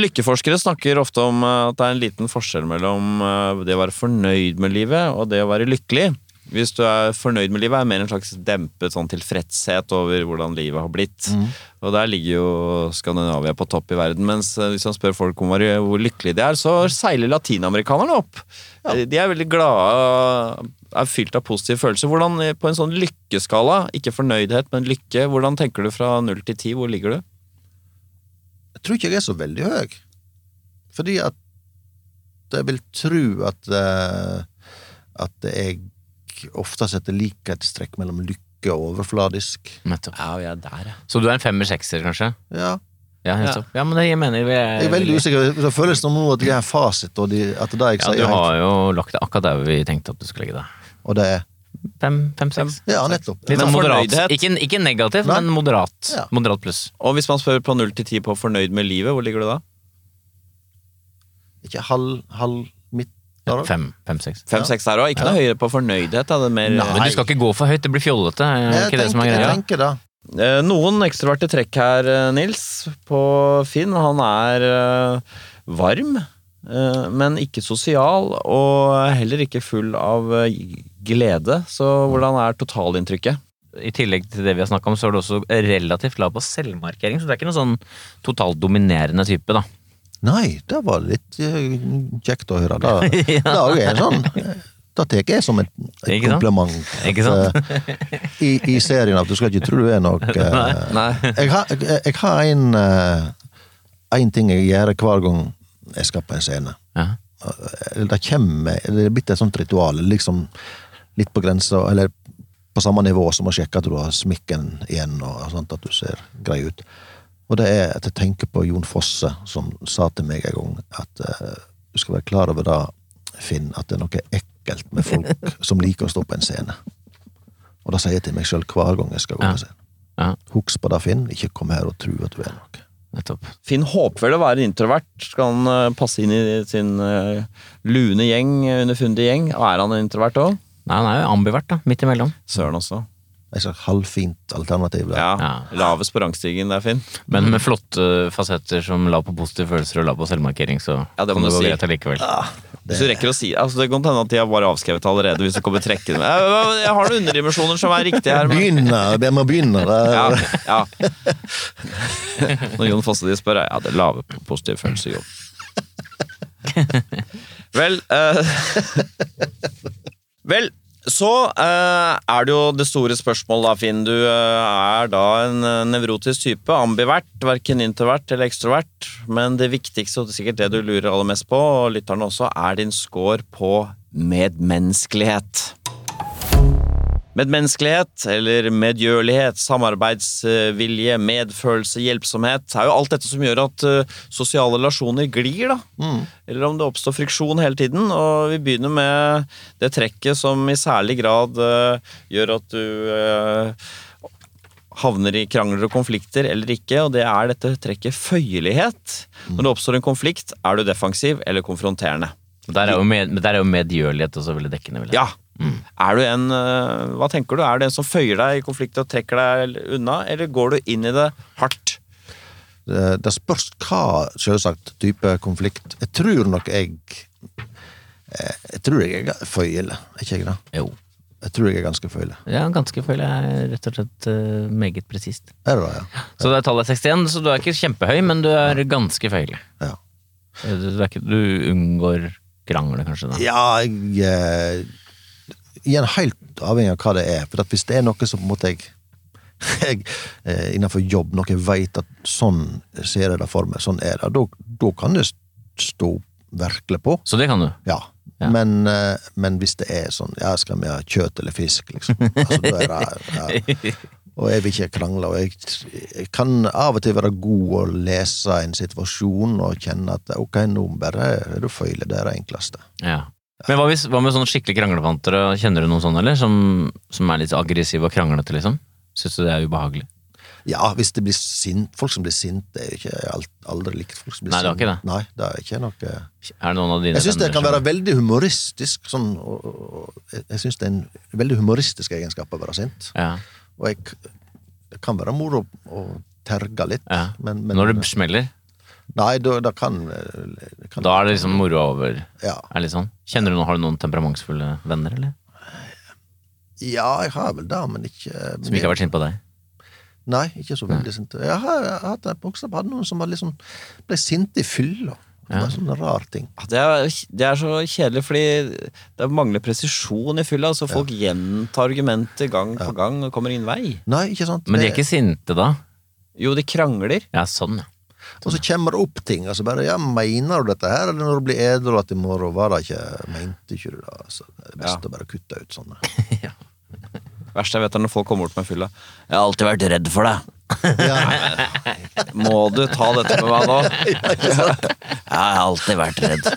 Speaker 2: Lykkeforskere snakker ofte om eh, at det er en liten forskjell mellom eh, det å være fornøyd med livet og det å være lykkelig. Hvis du er fornøyd med livet, er mer en slags dempet sånn tilfredshet over hvordan livet har blitt.
Speaker 3: Mm.
Speaker 2: Og der ligger jo Skandinavia på topp i verden. Mens eh, hvis man spør folk om hvor hvor lykkelige de er, så seiler latinamerikanerne opp. Eh, De er veldig glade, er fylt av positive følelser. Hvordan eh, På en sånn lykkeskala, ikke fornøydhet, men lykke, hvordan tenker du fra null til ti? Hvor ligger du?
Speaker 4: Jeg tror ikke jeg er så veldig høy. Fordi at jeg vil tro at eh, at jeg ofte setter likhetstrekk mellom lykke og overfladisk.
Speaker 3: Nettopp.
Speaker 2: Ja, jeg er der, ja.
Speaker 3: Så du er en femmer-sekser, kanskje?
Speaker 4: Ja,
Speaker 3: Ja, nettopp. Ja, men det jeg mener vi er,
Speaker 4: jeg er veldig usikker. Det føles som nå at jeg har fasit, og de, at det jeg
Speaker 3: Ja,
Speaker 4: sier,
Speaker 3: du
Speaker 4: er helt-
Speaker 3: har jo lagt det akkurat der vi tenkte at du skulle legge det.
Speaker 4: og det er
Speaker 3: Fem, fem, seks.
Speaker 4: Ja, nettopp.
Speaker 3: Litt
Speaker 2: Men
Speaker 3: sånn moderat.
Speaker 2: fornøydhet.
Speaker 3: Ikke, ikke negativ,
Speaker 4: Nei.
Speaker 3: men moderat.
Speaker 4: Ja.
Speaker 3: Moderat pluss.
Speaker 2: Og hvis man spør på 0 til 10 på fornøyd med livet, hvor ligger du da?
Speaker 4: Ikke halv, halv midt der òg.
Speaker 3: Fem, fem, seks.
Speaker 2: 5-6 der òg. Ikke noe høyere på fornøydhet. Da. Det er mer,
Speaker 4: Nei.
Speaker 3: Men du skal ikke gå for høyt, det blir fjollete. Er
Speaker 4: Jeg
Speaker 3: Eh, ikke det som er
Speaker 4: tenker-
Speaker 3: greia?
Speaker 4: Jeg tenker det.
Speaker 2: Eh, Noen ekstroverte trekk her, eh, Nils, på Finn. Han er eh, varm, eh, men ikke sosial, og heller ikke full av eh, glede. Så hvordan er totalinntrykket?
Speaker 3: I tillegg til det vi har snakka om, så er du også relativt lav på selvmarkering, så du er ikke noen sånn totalt dominerende type, da.
Speaker 4: Nei, det var litt eh, kjekt å høre. Da, da er jeg sånn Da tar jeg det som et, et
Speaker 3: Ikke sant?
Speaker 4: kompliment.
Speaker 3: Ikke sant?
Speaker 4: eh, i, I serien at du skal ikke tro du er noe eh,
Speaker 2: Nei.
Speaker 4: Jeg har, jeg, jeg har en, eh, en ting jeg gjør hver gang jeg skal på en scene.
Speaker 3: Ja.
Speaker 4: Eh, Det kommer Det er blitt et sånt ritual, liksom litt på grensa, eller på samme nivå som å sjekke at du har smikken igjen, og sånt, at du ser grei ut. Og det er at jeg tenker på Jon Fosse, som sa til meg en gang at eh, du skal være klar over det, Finn, at det er noe ekkelt med folk som liker å stå på en scene. Og det sier jeg til meg sjøl hver gang jeg skal gå
Speaker 3: Ja.
Speaker 4: på en scene.
Speaker 3: ja,
Speaker 4: Husk på det, Finn. Ikke kom her og tro at du er noe.
Speaker 3: nettopp.
Speaker 2: Finn håper vel å være en introvert. Skal han eh, passe inn i sin eh, lune gjeng, underfundige gjeng? Og er han en introvert òg?
Speaker 3: Nei, han er jo ambivert, da. Midt imellom.
Speaker 2: Søren også.
Speaker 4: Et slags halvfint alternativ. Der.
Speaker 2: Ja.
Speaker 3: Ja.
Speaker 2: Lavest på rangstigen, det er fint.
Speaker 3: Men med flotte fasetter som la på positive følelser og la på selvmarkering, så
Speaker 2: Ja, det må
Speaker 3: kan
Speaker 2: du
Speaker 3: det gå
Speaker 2: si.
Speaker 3: greit allikevel.
Speaker 2: Hvis du rekker å si altså Det kan hende at de har bare avskrevet allerede. hvis du kommer trekkende. Jeg, jeg har noen underdimensjoner som er riktige her. Men...
Speaker 4: Begynn, jeg ber meg begynne. Det-
Speaker 2: Ja, ja. Når Jon Fosse de spør, ja, det er lave på positive følelser, Jon. Vel eh, Vel, så eh, er det jo det store spørsmålet da, Finn. Du eh, er da en eh, nevrotisk type, ambivert, verken introvert eller ekstrovert. Men det viktigste, og det er sikkert det du lurer aller mest på, og lytterne også, er din score på medmenneskelighet. Medmenneskelighet, eller medgjørlighet, samarbeidsvilje, medfølelse, hjelpsomhet er jo alt dette som gjør at eh, sosiale relasjoner glir, da. Eller om det oppstår friksjon hele tiden. Og vi begynner med det trekket som i særlig grad eh, gjør at du eh, havner i krangler og konflikter eller ikke, og det er dette trekket føyelighet. Når det oppstår en konflikt, er du defensiv eller konfronterende.
Speaker 3: Så Der er jo, med, men der er jo medgjørlighet også veldig dekkende. Vil jeg. si.
Speaker 2: Ja. Er du en, eh, hva tenker du? Er du en som føyer deg i konflikt og trekker deg unna, eller går du inn i det hardt?
Speaker 4: Eh, Det det spørs hva, selvsagt, type konflikt. Jeg tror nok jeg eh, Jeg tror jeg er føyelig, er ikke jeg det?
Speaker 3: Jo.
Speaker 4: Jeg tror jeg er ganske føyelig.
Speaker 3: Ja, ganske føler jeg rett og slett eh, meget presist.
Speaker 4: Er det det, ja?
Speaker 3: Så det er tallet er 61, så du er ikke kjempehøy, men du er ganske feilig.
Speaker 4: Ja,
Speaker 3: Du, du, er ikke, du unngår krangler, kanskje. Da.
Speaker 4: ja jeg eh, Igjen helt avhengig av hva det er. For at hvis det er noe som på en måte jeg, jeg eh, Innenfor jobb, noe jeg vet at sånn ser jeg det for meg, sånn er det, da- da kan det stå virkelig på.
Speaker 3: Så det kan du.
Speaker 4: Ja.
Speaker 3: Ja.
Speaker 4: Men, eh, men hvis det er sånn ja, Skal vi ha kjøtt eller fisk, liksom? Altså, da er det, ja. Og jeg vil ikke krangle. Og jeg, jeg kan av og til være god å lese en situasjon og kjenne at ok, nå bare er du føyelig. Det er det enkleste.
Speaker 3: Ja. Men hva, hvis, hva med sånne skikkelig kranglepantere? Kjenner du noen sånne, eller? Som, som er litt aggressive og kranglete, liksom? Syns du det er ubehagelig?
Speaker 4: Ja, hvis det blir sint, folk som blir sinte, er jo ikke jeg har alt- aldri likt folk som blir
Speaker 3: Nei, det er
Speaker 4: sinte.
Speaker 3: ikke det.
Speaker 4: Nei, det er ikke noe
Speaker 3: Er det noen av dine
Speaker 4: Jeg syns det
Speaker 3: venner
Speaker 4: kan
Speaker 3: som-
Speaker 4: være veldig humoristisk. Sånn, og, og, og, jeg- jeg syns det er en veldig humoristisk egenskap å være sint.
Speaker 3: ja.
Speaker 4: Og jeg, det kan være moro å terge litt,
Speaker 3: ja.
Speaker 4: men, men
Speaker 3: Når det smeller,
Speaker 4: Nei, da, da kan, det kan
Speaker 3: da er det liksom moroa over?
Speaker 4: ja.
Speaker 3: Er det litt sånn? Kjenner du noen, Har du noen temperamentsfulle venner, eller?
Speaker 4: ja, jeg har vel det, men ikke eh,
Speaker 3: Som ikke har vært sinte på deg?
Speaker 4: Nei, ikke så veldig sinte. Jeg har, jeg har hatt en voksen hadde noen som var liksom, ble sinte i fylla. Det var en sånn rar ting.
Speaker 2: Ja, Det er, det er så kjedelig, fordi det mangler presisjon i fylla. Så folk gjentar argumenter gang på gang og kommer ingen vei.
Speaker 4: Nei, ikke sant?
Speaker 3: Men de er
Speaker 4: Det-
Speaker 3: ikke sinte da?
Speaker 2: Jo, de krangler.
Speaker 3: Ja, sånn, ja.
Speaker 4: Og så kommer det opp ting. Altså bare, ja, Mener du dette her, eller når du blir edru at i morgen var det ikke Mente ikke du det? Altså, det er best å bare kutte ut sånne.
Speaker 2: Verst jeg vet er når folk kommer bort med fylla. Jeg har alltid vært redd for deg.
Speaker 4: Ja,
Speaker 2: Må du ta dette med meg nå? Jeg har alltid vært redd.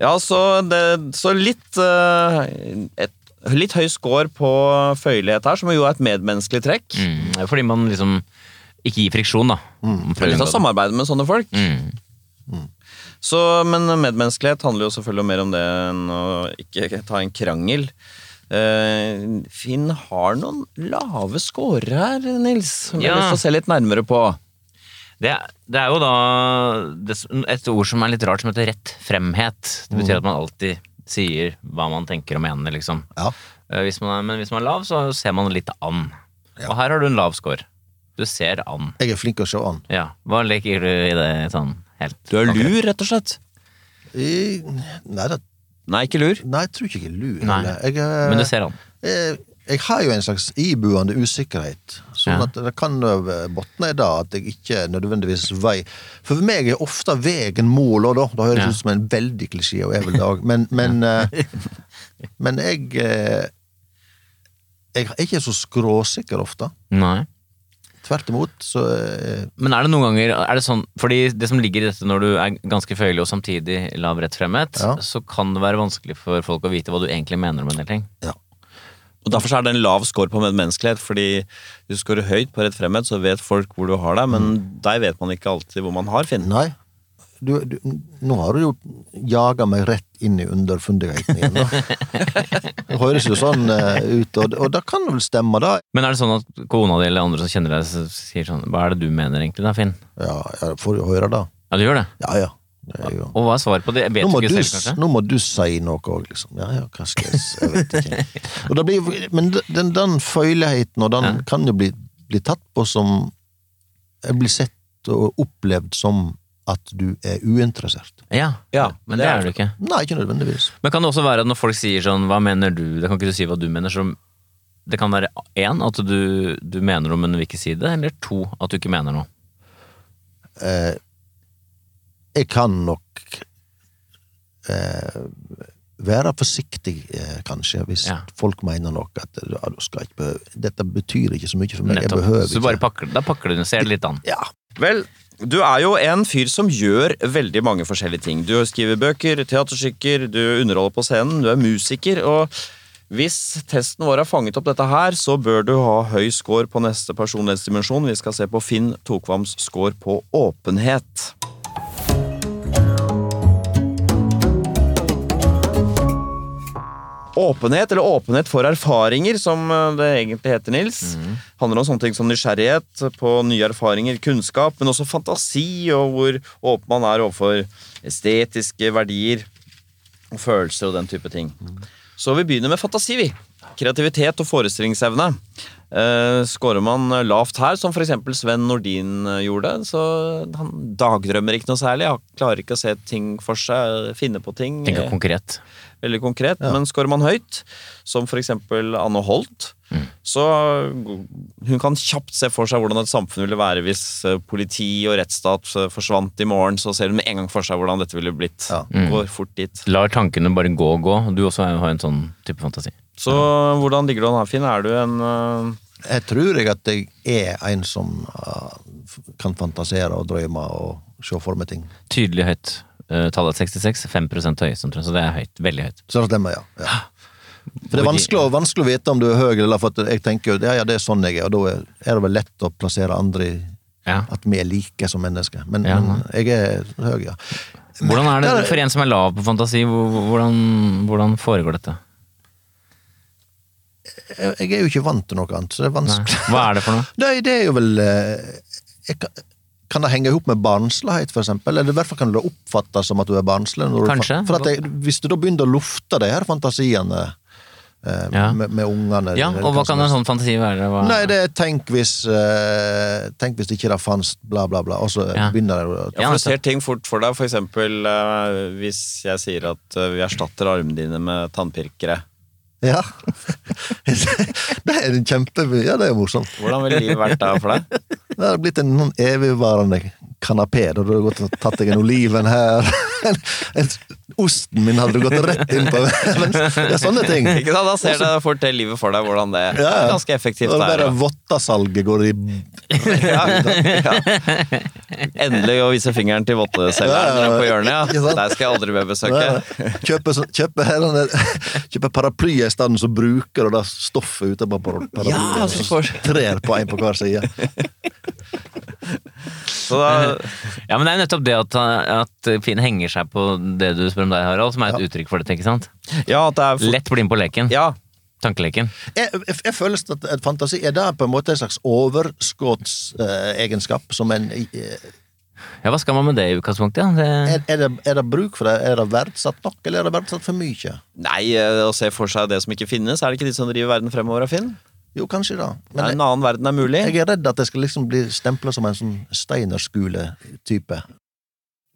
Speaker 2: Ja, så, det, så litt, eh, et, litt høy score på føyelighet her, som jo er et medmenneskelig trekk.
Speaker 3: Mm, fordi man liksom ikke gir friksjon, da.
Speaker 4: Mm.
Speaker 3: Man prøver
Speaker 2: Litt av
Speaker 3: å unngå det.
Speaker 2: samarbeidet med sånne folk.
Speaker 3: Mm.
Speaker 2: Så, men medmenneskelighet handler jo selvfølgelig mer om det enn å ikke ta en krangel. Eh, Finn har noen lave scorer her, Nils, som jeg
Speaker 3: Ja.
Speaker 2: har lyst til å se litt nærmere på.
Speaker 3: Det, det er jo da det, et ord som er litt rart, som heter rettfremhet. Det
Speaker 2: Mm.
Speaker 3: betyr at man alltid sier hva man tenker og mener, liksom.
Speaker 4: ja.
Speaker 3: Eh, Hvis man er, men hvis man er lav, så ser man litt an. Og her har du en lav score. Du ser an.
Speaker 4: Jeg er flink til å se an.
Speaker 3: Ja. Hva leker du i det sånn helt?
Speaker 2: Du er lur, rett og slett.
Speaker 4: I, nei, det,
Speaker 2: Nei, ikke lur.
Speaker 4: nei, jeg tror ikke jeg er lur.
Speaker 3: Nei.
Speaker 4: eller. Jeg, eh,
Speaker 3: Men du ser an.
Speaker 4: jeg, jeg har jo en slags iboende usikkerhet. Sånn
Speaker 3: Ja.
Speaker 4: at det kan eh, botne i det at jeg ikke nødvendigvis vei For meg er ofte veien målet, da. Det høres
Speaker 3: Ja.
Speaker 4: ut som en veldig klisjé, og er vel det òg. Men, men, eh, men jeg eh, Jeg er ikke så skråsikker ofte.
Speaker 3: Nei.
Speaker 4: Tvert imot, så eh,
Speaker 3: Men er det noen ganger er det sånn, fordi det som ligger i dette når du er ganske føyelig og samtidig lav rettfremhet,
Speaker 4: Ja.
Speaker 3: så kan det være vanskelig for folk å vite hva du egentlig mener om en del ting.
Speaker 4: Ja.
Speaker 2: Og Derfor så er det en lav score på medmenneskelighet, fordi du scorer høyt på rett fremhet, så vet folk hvor du har deg, men deg vet man ikke alltid hvor man har, Finn.
Speaker 4: Nei. Du, du, nå har du jo jager meg rett inn i underfundigheten igjen. da. Det høres jo sånn eh, ut, og, og det kan vel stemme, da.
Speaker 3: Men er det sånn at kona di eller andre som kjenner deg, s- sier sånn Hva er det du mener egentlig da, Finn?
Speaker 4: Ja, jeg får jo høre, da.
Speaker 3: Ja, du gjør det.
Speaker 4: Ja, ja. Det er jo...
Speaker 3: Og hva er svaret på det? Jeg vet
Speaker 4: Nå må,
Speaker 3: jo
Speaker 4: du,
Speaker 3: ikke selv, kanskje.
Speaker 4: nå må du si noe òg, liksom. Ja, ja, hva skal jeg si? Jeg vet ikke. Og det blir, men den, den føyeligheten, og den
Speaker 3: Ja.
Speaker 4: kan jo bli, bli tatt på som jeg Blir sett og opplevd som at du er uinteressert.
Speaker 3: Ja,
Speaker 2: Ja,
Speaker 3: men det er du ikke.
Speaker 4: Nei, ikke nødvendigvis.
Speaker 3: Men kan det også være at når folk sier sånn Hva mener du? Det kan ikke du si hva du mener. Så det kan være én, at du, du mener noe, men du vil ikke si det. Eller to, at du ikke mener noe.
Speaker 4: eh, jeg kan nok eh, være forsiktig, eh, kanskje, hvis
Speaker 3: Ja.
Speaker 4: folk mener noe at ja, du skal ikke behøve, dette betyr ikke så mye for meg. Jeg
Speaker 3: Nettopp.
Speaker 4: behøver
Speaker 3: Så du bare
Speaker 4: ikke.
Speaker 3: pakker, da pakker du det, ser det litt an.
Speaker 4: Ja,
Speaker 2: Vel, du er jo en fyr som gjør veldig mange forskjellige ting. Du skriver bøker, teaterstykker, du underholder på scenen, du er musiker. og hvis testen vår har fanget opp dette her, så bør du ha høy score på neste personlighetsdimensjon. Vi skal se på Finn Tokvams score på åpenhet. Åpenhet, eller åpenhet for erfaringer, som eh, det egentlig heter, Nils. handler om sånne ting som nysgjerrighet på nye erfaringer, kunnskap, men også fantasi, og hvor åpen man er overfor estetiske verdier og følelser og den type ting. Så vi begynner med fantasi, vi. Kreativitet og forestillingsevne. Eh, Skårer man lavt her, som f.eks. Sven Nordin eh, gjorde, så han dagdrømmer ikke noe særlig. Han klarer ikke å se ting for seg, finne på ting.
Speaker 3: Tenker
Speaker 2: Eh,
Speaker 3: konkret.
Speaker 2: veldig konkret, men skårer man høyt, som for eksempel Anne Holt,
Speaker 4: Mm.
Speaker 2: så hun kan kjapt se for seg hvordan et samfunn ville være hvis eh, politi og rettsstat eh, forsvant i morgen, så ser hun med en gang for seg hvordan dette ville blitt.
Speaker 4: Ja.
Speaker 2: Går fort dit.
Speaker 3: Lar tankene bare gå og gå. Du også har en sånn type fantasi.
Speaker 2: Så hvordan ligger du an her, Finn? Er du en eh,
Speaker 4: jeg tror jeg at jeg er en som ah, f- kan fantasere og drømme og se for meg ting.
Speaker 3: Tydelig høyt. Eh, tallet er 66, 5 høyest, omtrent, så det er høyt. Veldig høyt.
Speaker 4: Så det stemmer, ja. ja. For det er vanskelig, å- vanskelig å vite om du er høy eller lav, for at jeg tenker jo ja, ja, det er sånn jeg er, og da er- er det vel lett å plassere andre i
Speaker 3: Ja.
Speaker 4: at vi er like som mennesker. Men,
Speaker 3: Ja.
Speaker 4: men jeg er høy, ja.
Speaker 3: Hvordan er det for en som er lav på fantasi? hvor- hvor- Hvordan, hvordan foregår dette?
Speaker 4: Jeg, jeg er jo ikke vant til noe annet, så det er
Speaker 3: Nei.
Speaker 4: vanskelig.
Speaker 3: Hva er det for noe?
Speaker 4: Nei, det er jo vel eh, jeg, kan- Kan det henge ihop med barnslighet, for eksempel? Eller i hvert fall kan det oppfattes som at du er barnslig. Når du,
Speaker 3: Kanskje.
Speaker 4: For at jeg, hvis du da begynner å lufte de her fantasiene eh,
Speaker 3: Ja.
Speaker 4: med, med ungene
Speaker 3: Ja,
Speaker 4: eller
Speaker 3: og hva kan
Speaker 4: som
Speaker 3: en
Speaker 4: helst.
Speaker 3: sånn fantasi være? Hva?
Speaker 4: Nei, det er tenk hvis eh, Tenk hvis ikke det fantes bla, bla, bla, og så
Speaker 3: Ja.
Speaker 4: begynner det å
Speaker 2: Ja,
Speaker 3: Ja,
Speaker 2: for du
Speaker 3: nettopp.
Speaker 2: ser ting fort for deg, for eksempel eh, hvis jeg sier at eh, vi erstatter armene dine med tannpirkere.
Speaker 4: Ja. det er en kjempe... Ja, det er morsomt.
Speaker 2: Hvordan ville livet vært der for deg?
Speaker 4: Det har blitt en sånn evigvarende kanapé. Da hadde du gått og tatt deg en oliven her. En, en, osten min hadde du gått rett inn på. Ja, sånne ting.
Speaker 2: Ikke sant? Da ser du fort det livet for deg, hvordan det er.
Speaker 4: Ja, ja.
Speaker 2: Ganske effektivt.
Speaker 4: Og det
Speaker 2: der,
Speaker 4: bare
Speaker 2: ja.
Speaker 4: vottasalget går i
Speaker 2: ja, ja. Endelig å vise fingeren til votteselgeren
Speaker 4: Ja, ja, ja.
Speaker 2: på hjørnet.
Speaker 4: Ikke
Speaker 2: Ja.
Speaker 4: sant?
Speaker 2: Der skal jeg aldri mer besøke.
Speaker 4: Kjøpe, sånn- kjøpe, her denne- kjøpe paraplyer i stedet, så bruker du det stoffet utenpå par- paraplyen.
Speaker 2: Ja,
Speaker 4: og
Speaker 2: så
Speaker 4: så
Speaker 2: får-
Speaker 4: trer på en på hver side.
Speaker 2: Så da,
Speaker 3: Ja, men det er jo nettopp det at, at Finn henger seg på det du spør om deg, Harald, som er et uttrykk for dette, ikke sant?
Speaker 2: ja, at det er for,
Speaker 3: Lett bli med på leken.
Speaker 2: ja,
Speaker 3: Tankeleken.
Speaker 4: Jeg, jeg, jeg føler at, at fantasi er det på en måte en slags overskuddsegenskap som en eh,
Speaker 3: Ja, hva skal man med det i utgangspunktet? Ja?
Speaker 4: Er, er, det, er det bruk for det? Er det verdsatt nok, eller er det verdsatt for mye?
Speaker 2: Nei, eh, å se for seg det som ikke finnes. Er det ikke de som driver verden fremover, da, Finn?
Speaker 4: Jo, kanskje det.
Speaker 2: Nei,
Speaker 4: Men
Speaker 2: en annen verden er mulig.
Speaker 4: jeg, jeg er redd at jeg skal liksom bli stempla som en sånn Steinerskule-type.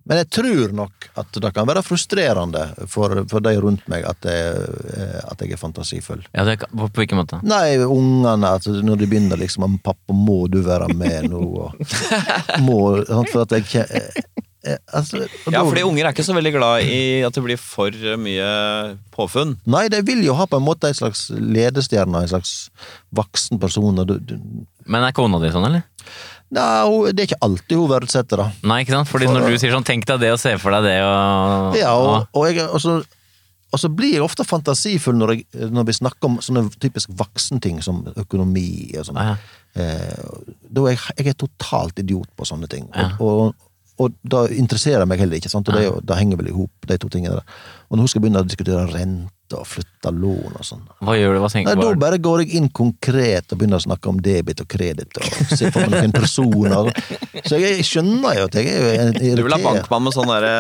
Speaker 4: Men jeg tror nok at det kan være frustrerende for, for de rundt meg at jeg, eh, at jeg er fantasifull.
Speaker 3: Det, ja, det, kan- på, på hvilken måte?
Speaker 4: Nei, ungene, at når de begynner liksom om 'Pappa, må du være med nå?' og må, sant, For at jeg ikke eh, eh, altså, og
Speaker 2: Ja,
Speaker 4: da-
Speaker 2: fordi unger er ikke så veldig glad i at det blir for mye påfunn.
Speaker 4: Nei, de vil jo ha på en måte en slags ledestjerne, en slags voksen person. Og du, du,
Speaker 3: Men er kona di sånn, eller?
Speaker 4: nei, hun- det er ikke alltid hun verdsetter det.
Speaker 3: Nei, ikke sant? Fordi når du sier sånn, tenk deg det og se for deg det og
Speaker 4: Ja, og, og, jeg, og, så, og så blir jeg ofte fantasifull når, jeg, når vi snakker om sånne typisk voksenting som økonomi og sånn.
Speaker 3: Ja, ja.
Speaker 4: Eh, da er jeg, jeg er totalt idiot på sånne ting.
Speaker 3: Ja.
Speaker 4: Og, og, og det interesserer meg heller ikke, sant? og det, er jo- det henger vel i hop, de to tingene der. Og når hun skal begynne å diskutere rente og flytte lån og sånn
Speaker 3: Hva gjør du? Hva
Speaker 4: Nei,
Speaker 3: tenker
Speaker 4: Da
Speaker 3: du?
Speaker 4: bare går jeg inn konkret og begynner å snakke om debit og kreditt. og se for meg noen personer. og sånn. Så jeg skjønner jo at jeg er jo en-
Speaker 2: Du vil ha
Speaker 4: irritert.
Speaker 2: bankmann med sånn derre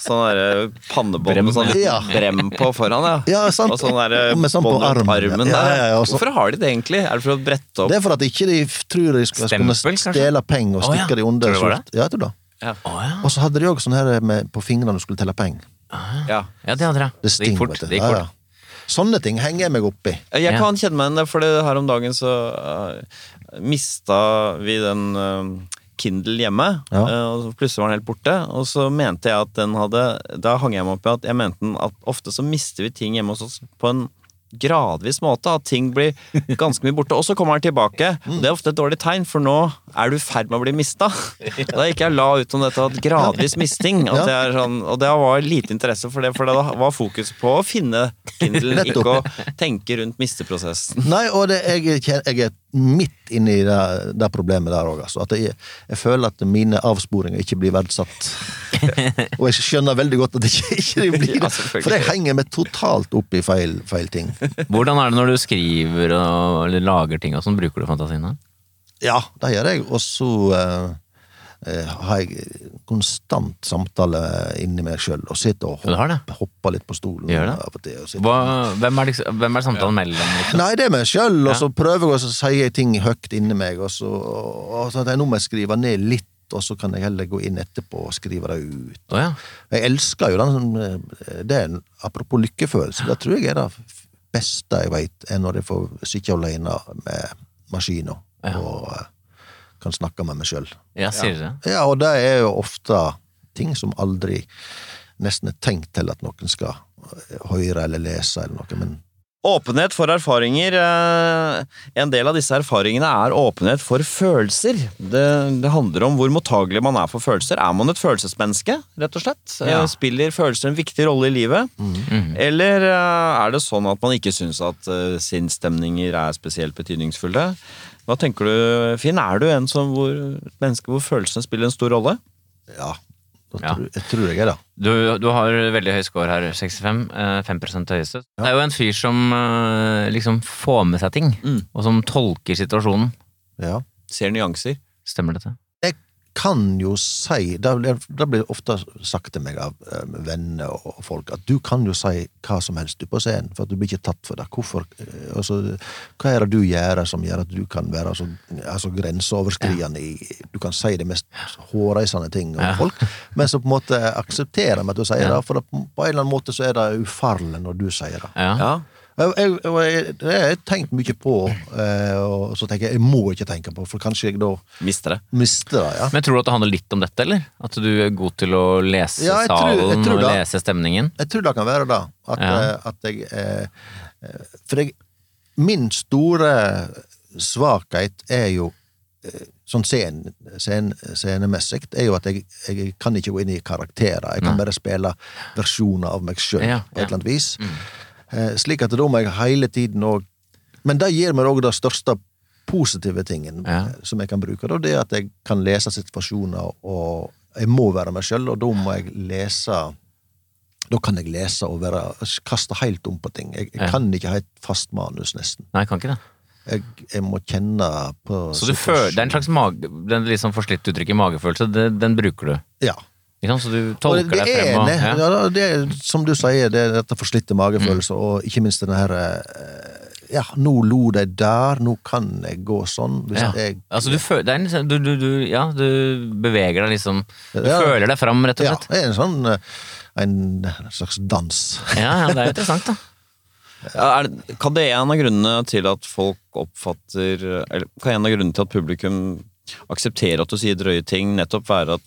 Speaker 2: sånn der pannebånd
Speaker 3: Brem.
Speaker 2: med sånn liten
Speaker 4: Ja.
Speaker 2: brem på foran, ja.
Speaker 4: Ja, sant.
Speaker 2: Og sånn derre
Speaker 4: Med sånn på
Speaker 2: bånd rundt
Speaker 4: armen, ja.
Speaker 2: armen
Speaker 4: Ja,
Speaker 2: der.
Speaker 4: ja, ja, og så-
Speaker 2: Hvorfor har de det egentlig? Er det for å brette opp?
Speaker 4: Det er for at ikke de f- tror de skal kunne
Speaker 3: Stempel, kanskje?
Speaker 4: stjele penger og
Speaker 3: Å, ja.
Speaker 4: stikke de under.
Speaker 3: Tror du det var Ah.
Speaker 4: sort. Ja, jeg tror det.
Speaker 2: Ja.
Speaker 3: Å, ja. Ah.
Speaker 4: Og så hadde de òg sånn her med, på fingrene du skulle telle penger.
Speaker 2: ja.
Speaker 3: ja, det hadde jeg.
Speaker 4: Det
Speaker 3: gikk
Speaker 4: sting,
Speaker 3: fort.
Speaker 4: vet du.
Speaker 3: Det gikk
Speaker 4: Ja,
Speaker 3: fort.
Speaker 4: ja. Sånne ting henger jeg meg opp i.
Speaker 2: Eh, Jeg
Speaker 3: Ja.
Speaker 2: kan kjenne meg igjen, for her om dagen så eh, mista vi den eh, Kindle hjemme,
Speaker 4: Ja.
Speaker 2: eh, og så plutselig var den helt borte. Og så mente jeg at den hadde Da hang jeg meg opp i at jeg mente den at ofte så mister vi ting hjemme hos oss på en gradvis måte. At ting blir ganske mye borte. Og så kommer den tilbake.
Speaker 4: Mm.
Speaker 2: Det er ofte et dårlig tegn, for nå er du i ferd med å bli mista. Da gikk jeg og la ut om dette at gradvis misting.
Speaker 4: Ja.
Speaker 2: At det er sånn, og det var lite interesse for det, for det var fokus på å finne Kindlen, ikke å tenke rundt misteprosessen.
Speaker 4: Nei, og det, jeg, kjen- jeg er midt inne i det, det problemet der òg. Altså. At jeg, jeg føler at mine avsporinger ikke blir verdsatt. og jeg skjønner veldig godt at det ikke, ikke de blir
Speaker 2: Ja,
Speaker 4: det.
Speaker 2: selvfølgelig.
Speaker 4: For jeg henger meg totalt opp i feil, feil ting.
Speaker 3: Hvordan er det når du skriver og eller lager ting og sånn? Bruker du fantasien da?
Speaker 4: Ja, det gjør jeg. Og så eh, eh, har jeg konstant samtale inni meg sjøl, og sitter og
Speaker 3: Ja, du har
Speaker 4: hopper, hopper litt på stolen.
Speaker 3: Gjør det?
Speaker 4: av og til, og sitter-
Speaker 3: Hva, hvem, er liksom, hvem er samtalen mellom? Liksom?
Speaker 4: Nei, det er meg sjøl, og så prøver jeg, og så sier jeg ting høyt inni meg, og så, og så at jeg nå må jeg skrive ned litt, og så kan jeg heller gå inn etterpå og skrive det ut.
Speaker 3: Å ja.
Speaker 4: Jeg elsker jo den sånn, eh, det er en, Apropos lykkefølelse, det tror jeg er det f- beste jeg veit, er når jeg får sitte alene med maskina
Speaker 3: Ja.
Speaker 4: og eh, kan snakke med meg sjøl.
Speaker 3: ja, sier du det?
Speaker 4: Ja, og det er jo ofte ting som aldri nesten er tenkt til at noen skal eh, høre eller lese eller noe, men
Speaker 2: Åpenhet for erfaringer. eh, En del av disse erfaringene er åpenhet for følelser. Det, det handler om hvor mottagelig man er for følelser. Er man et følelsesmenneske, rett og slett? Eh,
Speaker 3: Ja.
Speaker 2: Spiller følelser en viktig rolle i livet?
Speaker 3: Mhm.
Speaker 2: Eller eh, er det sånn at man ikke syns at eh, sinnsstemninger er spesielt betydningsfulle? Hva tenker du, Finn? Er du en som hvor, et menneske hvor følelsene spiller en stor rolle?
Speaker 4: ja. da
Speaker 3: Ja.
Speaker 4: Tror, jeg tror jeg er det.
Speaker 3: Du, du har veldig høy score her, 65. eh, 5 høyeste. Det er jo en fyr som eh, liksom får med seg ting,
Speaker 2: Mm.
Speaker 3: og som tolker situasjonen.
Speaker 4: Ja.
Speaker 2: Ser nyanser.
Speaker 3: Stemmer dette?
Speaker 4: Jeg kan jo si Det blir- det blir ofte sagt til meg av eh, venner og folk at du kan jo si hva som helst du på scenen, for at du blir ikke tatt for det. Hvorfor, eh, altså, hva er det du gjør som gjør at du kan være så altså, grenseoverskridende i Du kan si de mest hårreisende ting om folk, men så på en måte aksepterer de at du sier det, for det, på en eller annen måte så er det ufarlig når du sier det.
Speaker 3: Ja.
Speaker 2: Ja.
Speaker 4: Jeg, jeg, jeg, jeg har tenkt mye på, eh, og så tenker jeg jeg må ikke tenke på, for kanskje jeg da
Speaker 2: Mister det.
Speaker 4: mister det. ja.
Speaker 3: Men tror du at det handler litt om dette, eller? At du er god til å lese
Speaker 4: Ja, jeg tror- jeg
Speaker 3: salen
Speaker 4: tror
Speaker 3: og
Speaker 4: det.
Speaker 3: lese stemningen?
Speaker 4: Jeg tror det kan være det. At,
Speaker 3: Mm. Ja.
Speaker 4: eh, at jeg eh, eh, For jeg Min store svakhet er jo eh, Sånn scen, scen, scenemessig er jo at jeg, jeg kan ikke gå inn i karakterer. Jeg kan bare spille versjoner av meg sjøl
Speaker 3: Ja,
Speaker 4: på et
Speaker 3: ja. Mm.
Speaker 4: eller annet vis. Eh, slik at da må jeg hele tiden òg Men det gir meg òg det største positive tingen
Speaker 3: Ja.
Speaker 4: eh, som jeg kan bruke. Da, det er at jeg kan lese situasjoner, og jeg må være meg sjøl, og da må jeg lese da kan jeg lese og være, kaste helt om på ting. Jeg, jeg
Speaker 3: Ja.
Speaker 4: kan ikke ha et fast manus, nesten.
Speaker 3: Nei, jeg kan ikke det.
Speaker 4: Jeg, jeg må kjenne på
Speaker 3: Så du føler, det er en slags mage, den litt sånn forslitt uttrykket magefølelse, det, den bruker du.
Speaker 4: Ja.
Speaker 3: Ikke sant? Så du
Speaker 4: Og
Speaker 3: tolker
Speaker 4: det
Speaker 3: deg
Speaker 4: er
Speaker 3: frem og
Speaker 4: det,
Speaker 3: ja.
Speaker 4: ja, det er, som du sier, det er dette forslitte magefølelsen,
Speaker 3: Mm.
Speaker 4: og ikke minst den her eh, Ja, nå lo de der, nå kan jeg gå sånn. Hvis
Speaker 3: Ja.
Speaker 4: jeg
Speaker 3: Altså, du, føler, det er en, sånn- du, du, du, ja, du beveger deg liksom Du
Speaker 4: Ja.
Speaker 3: føler deg fram, rett og
Speaker 4: Ja,
Speaker 3: slett.
Speaker 4: det er en sånn eh, en slags dans.
Speaker 3: Ja, ja det er jo interessant, da.
Speaker 2: Ja, Er, det- kan det en av grunnene til at folk oppfatter Eller kan en av grunnene til at publikum aksepterer at du sier drøye ting, nettopp være at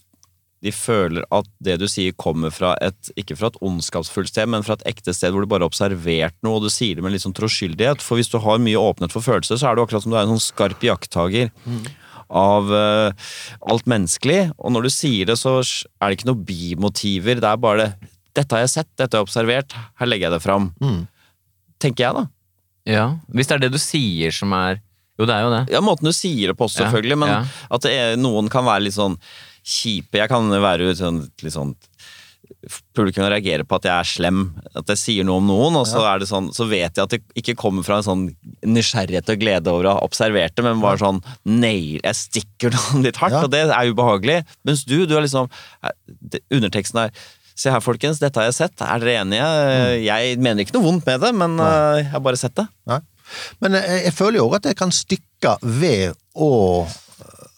Speaker 2: de føler at det du sier kommer fra et ikke fra et ondskapsfullt sted, men fra et ekte sted hvor du bare har observert noe, og du sier det med litt sånn troskyldighet. For hvis du har mye åpenhet for følelser, så er det akkurat som du er en sånn skarp jakttager av eh, alt menneskelig. Og når du sier det, så er det ikke noe bimotiver. Det er bare 'dette har jeg sett, dette har jeg observert, her legger jeg det fram'
Speaker 4: Mm.
Speaker 2: tenker jeg da.
Speaker 3: Ja. Hvis det er det du sier som er Jo, det er jo det.
Speaker 2: Ja, Måten du sier det på også,
Speaker 3: Ja,
Speaker 2: selvfølgelig, men
Speaker 3: ja.
Speaker 2: at det er, noen kan være litt sånn kjipe Jeg kan være ut sånn, litt sånn Publikum reagerer på at jeg er slem, at jeg sier noe om noen, og så, er det sånn, så vet jeg at det ikke kommer fra en sånn nysgjerrighet og glede over å ha observert det, men bare sånn Nei, jeg stikker noen litt hardt,
Speaker 4: Ja.
Speaker 2: og det er ubehagelig. Mens du, du er liksom det- Underteksten er Se her, folkens, dette har jeg sett. Er dere enige? Jeg mener ikke noe vondt med det, men eh, jeg har bare sett det.
Speaker 4: Nei. Men jeg, jeg føler jo òg at jeg kan stikke ved å, eh,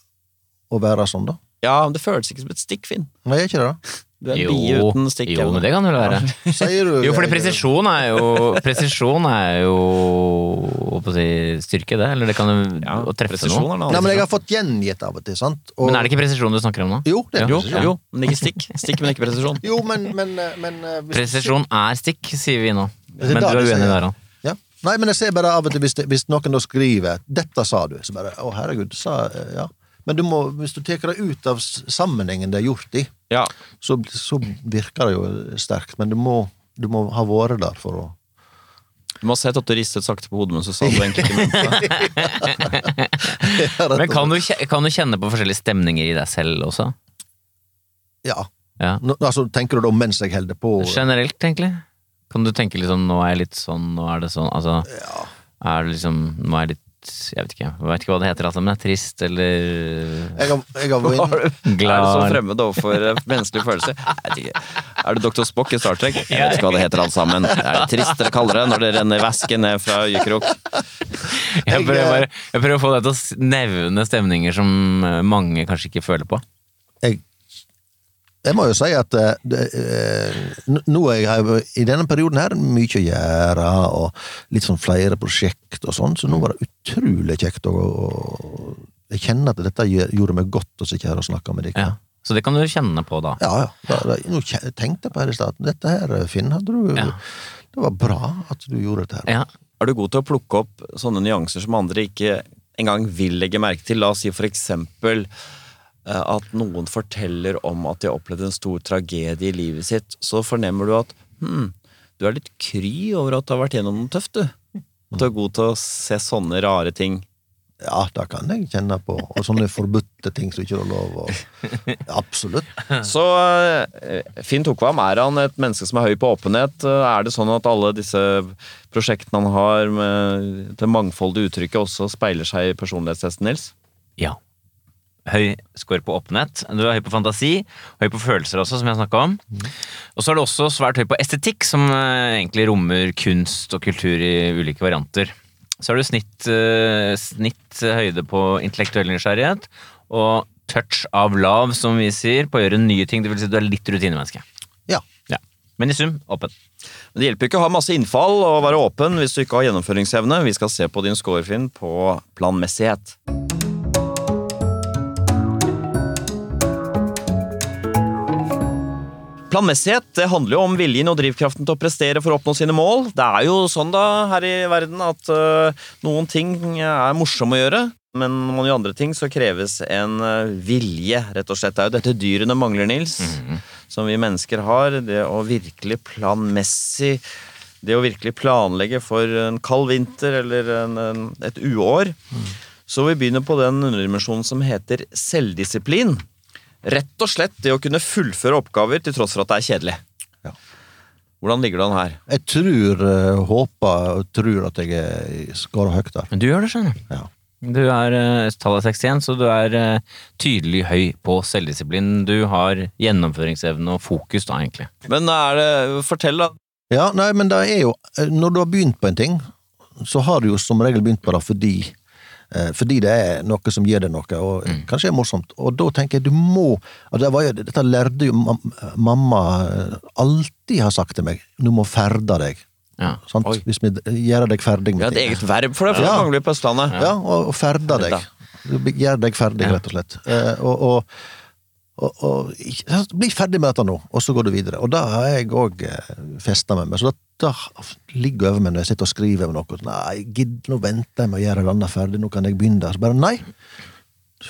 Speaker 4: å være sånn, da.
Speaker 2: Ja, men det føles ikke som et stikk, Finn.
Speaker 4: Nei, jeg er ikke det, da.
Speaker 2: Du er en bie uten stikk.
Speaker 3: jo, men det kan det vel være.
Speaker 4: Sier du
Speaker 3: Jo, fordi
Speaker 4: jeg-
Speaker 3: presisjon er jo Presisjon er jo hva på å si, styrke, det. Eller det kan jo å treffe
Speaker 2: presisjon
Speaker 3: noe.
Speaker 2: er noe
Speaker 4: Nei, men jeg har fått gjengitt av og til, sant? Og,
Speaker 3: Men er det ikke presisjon du snakker om nå?
Speaker 4: Jo, det er
Speaker 3: Jo,
Speaker 4: presisjon.
Speaker 2: Jo, men ikke stikk. Stikk, men ikke presisjon.
Speaker 4: Jo, men, men, men eh, hvis-
Speaker 3: Presisjon er stikk, sier vi nå.
Speaker 4: Det er
Speaker 3: Men du
Speaker 4: da
Speaker 3: er
Speaker 4: du sier
Speaker 3: uenig
Speaker 4: det.
Speaker 3: der, han.
Speaker 4: Ja. Nei, men jeg ser bare av og til hvis, det, hvis noen da skriver 'dette sa du', så bare 'å, herregud', sa eh, ja. Men du må, hvis du tar det ut av s- sammenhengen det er gjort i,
Speaker 2: Ja.
Speaker 4: så, så virker det jo sterkt. Men du må, du må ha vært der for å
Speaker 2: Du må ha sett at du ristet sakte på hodet, men så sa du egentlig ikke mente det.
Speaker 3: Men kan du, kje- kan du kjenne på forskjellige stemninger i deg selv også?
Speaker 4: Ja.
Speaker 3: Ja.
Speaker 4: Nå, altså, tenker du da mens jeg holder på?
Speaker 3: Generelt, egentlig? Kan du tenke liksom Nå er jeg litt sånn, nå er det sånn Altså,
Speaker 4: Ja.
Speaker 3: er det liksom Nå er jeg litt Jeg vet ikke, jeg vet ikke hva det heter, altså, men det er trist eller
Speaker 4: Jeg har, jeg har vært inne-
Speaker 2: Er du så
Speaker 3: glad
Speaker 2: fremmed overfor eh, menneskelige følelser? Jeg vet ikke. Er du Dr. Spock i Star Trek? Jeg vet ikke hva det heter alt sammen. Det er det trist dere kaller det når det renner væske ned fra øyekrok.
Speaker 3: Jeg prøver, bare, jeg prøver å få deg til å s- nevne stemninger som eh, mange kanskje ikke føler på.
Speaker 4: jeg, jeg må jo si at eh, det, eh, n- nå er jeg, har jeg jo i denne perioden her mye å gjøre, og litt sånn flere prosjekt og sånn, så nå var det utrolig kjekt å å- Jeg kjenner at dette gjør- gjorde meg godt å sitte her og snakke med dere.
Speaker 3: Ja. Så det kan du kjenne på da.
Speaker 4: Ja, ja. Da, da, nå kje- tenkte jeg på her i stad. Dette her, eh, Finn, hadde du
Speaker 3: Ja.
Speaker 4: Det var bra at du gjorde dette her.
Speaker 3: Ja.
Speaker 2: Er du god til å plukke opp sånne nyanser som andre ikke engang vil legge merke til? La oss si for eksempel eh, at noen forteller om at de har opplevd en stor tragedie i livet sitt, så fornemmer du at hm, du er litt kry over at du har vært gjennom noe tøft, du. At du er god til å se sånne rare ting.
Speaker 4: Ja, det kan jeg kjenne på. Og sånne forbudte ting som ikke er lov å Absolutt.
Speaker 2: Så eh, Finn Tokvam, er han et menneske som er høy på åpenhet? Eh, Er det sånn at alle disse prosjektene han har med det mangfoldige uttrykket også speiler seg i personlighetstesten, Nils?
Speaker 3: ja. Høy score på åpenhet. Du er høy på fantasi. Høy på følelser også, som jeg snakka om. Og så er du også svært høy på estetikk, som eh, egentlig rommer kunst og kultur i ulike varianter. Så har du snitt, eh, snitt høyde på intellektuell nysgjerrighet og touch av lav, som vi sier, på å gjøre nye ting. Det vil si du er litt rutinemenneske.
Speaker 4: Ja.
Speaker 3: Ja. Men i sum åpen.
Speaker 2: Men det hjelper ikke å ha masse innfall og være åpen hvis du ikke har gjennomføringsevne. Vi skal se på din score, Finn, på planmessighet. Planmessighet det handler jo om viljen og drivkraften til å prestere for å oppnå sine mål. Det er jo sånn da her i verden at øh, noen ting er morsomme å gjøre, men når man gjør andre ting, så kreves en øh, vilje, rett og slett. Det er jo dette dyrene mangler, Nils som vi mennesker har, det å virkelig planmessig Det å virkelig planlegge for en kald vinter eller en, en, et uår. Så vi begynner på den underdimensjonen som heter selvdisiplin. Rett og slett det å kunne fullføre oppgaver til tross for at det er kjedelig.
Speaker 4: Ja.
Speaker 2: Hvordan ligger det an her?
Speaker 4: Jeg tror, eh, håper og tror at jeg eh, skårer høyt der.
Speaker 3: Men du gjør det, skjønner du.
Speaker 4: Ja.
Speaker 3: Du er eh, tallet er 61, så du er eh, tydelig høy på selvdisiplin. Du har gjennomføringsevne og fokus, da, egentlig.
Speaker 2: Men er det, fortell, da.
Speaker 4: ja, nei, men det er jo eh, Når du har begynt på en ting, så har du jo som regel begynt på det fordi eh, fordi det er noe som gir deg noe, og kanskje er morsomt. Og da tenker jeg du må og det var jo, Dette lærte jo mam mamma eh, alltid har sagt til meg. Du må ferde deg.
Speaker 3: Ja.
Speaker 4: Sant? Hvis vi d- gjør deg ferdig
Speaker 2: Vi har
Speaker 4: med
Speaker 2: et
Speaker 4: ting.
Speaker 2: eget verb for det, for det
Speaker 4: Ja.
Speaker 2: mangler vi på Østlandet.
Speaker 4: Ja, og, og ferda deg.
Speaker 2: Da.
Speaker 4: Du be- Gjør deg ferdig, rett og slett. Eh, og, og, og, og ikke sant, Bli ferdig med dette nå, og så går du videre. Og det har jeg òg festa med meg. Så dette ligger over meg når jeg sitter og skriver om noe. Nei, gidd, nå venter jeg med å gjøre det andre ferdig, nå kan jeg begynne der. Så bare nei.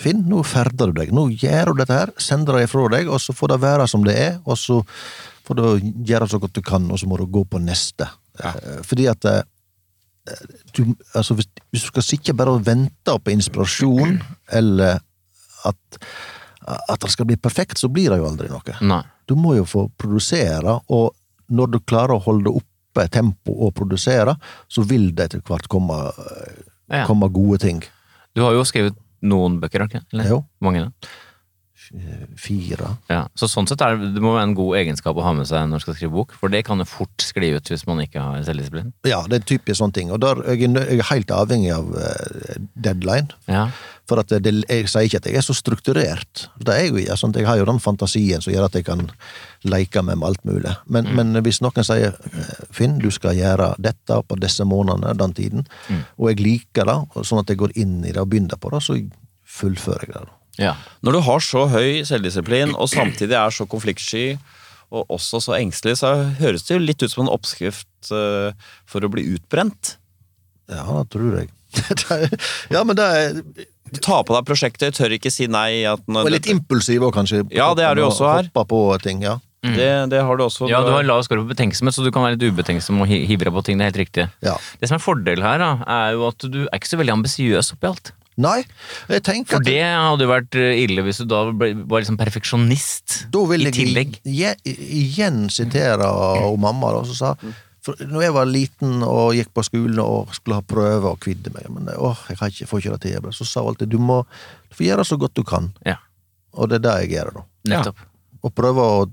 Speaker 4: Finn, nå ferder du deg. Nå gjør du dette her, sender det ifra deg, og så får det være som det er, og så får du gjøre så godt du kan, og så må du gå på neste. Eh, Fordi at eh, du, altså hvis, hvis du skal sitte bare og vente på inspirasjon, eller at at det skal bli perfekt, så blir det jo aldri noe.
Speaker 3: Nei.
Speaker 4: Du må jo få produsere, og når du klarer å holde oppe tempo og produsere, så vil det etter hvert komme,
Speaker 3: Ja.
Speaker 4: komme gode ting.
Speaker 3: Du har jo skrevet noen bøker, har du ikke? Eller?
Speaker 4: Jo.
Speaker 3: Mange, da.
Speaker 4: Fire.
Speaker 3: ja. Så sånn sett er det, det må være en god egenskap å ha med seg når du skal skrive bok, for det kan jo fort skli ut hvis man ikke har selvdisiplin.
Speaker 4: Ja, det er typisk sånne ting. Og der, jeg, er nø- jeg er helt avhengig av eh, deadline.
Speaker 3: Ja.
Speaker 4: For at det, jeg sier ikke at jeg er så strukturert. Det er jo, altså, jeg har jo den fantasien som gjør at jeg kan leke med alt mulig. Men,
Speaker 2: Mm.
Speaker 4: men hvis noen sier eh, Finn, du skal gjøre dette på disse månedene, den tiden,
Speaker 2: Mm.
Speaker 4: og jeg liker det, og sånn at jeg går inn i det og begynner på det, så fullfører jeg det.
Speaker 3: ja.
Speaker 2: Når du har så høy selvdisiplin, og samtidig er så konfliktsky, og også så engstelig, så høres det jo litt ut som en oppskrift eh, for å bli utbrent.
Speaker 4: Ja, det tror jeg. Det er- ja, men det er
Speaker 2: Du tar på deg prosjektet, tør ikke si nei. At
Speaker 4: Og
Speaker 2: når,
Speaker 4: er litt impulsiv òg, kanskje.
Speaker 2: Ja, det er du også her.
Speaker 4: Hoppa på ting, ja.
Speaker 2: det, det har du også.
Speaker 3: ja, du har lav score på betenksomhet, så du kan være litt ubetenksom og hi- hivre på ting. Det er helt riktig.
Speaker 4: ja.
Speaker 3: Det som er fordelen her, da, er jo at du er ikke så veldig ambisiøs oppi alt.
Speaker 4: Nei, jeg tenker
Speaker 3: For
Speaker 4: at
Speaker 3: det hadde jo vært eh, ille hvis du da ble, var liksom perfeksjonist
Speaker 4: Da vil
Speaker 3: i
Speaker 4: jeg
Speaker 3: tillegg.
Speaker 4: ig- ig- igjen sitere og mamma, da, som sa for når jeg var liten og gikk på skolen og skulle ha prøve og kvidde meg men åh, jeg har ikke, får ikke det til, jeg bare- så sa hun alltid du må du får gjøre så godt du kan.
Speaker 3: Ja,
Speaker 4: Og det er det jeg gjør, da.
Speaker 3: nettopp.
Speaker 4: Og prøve å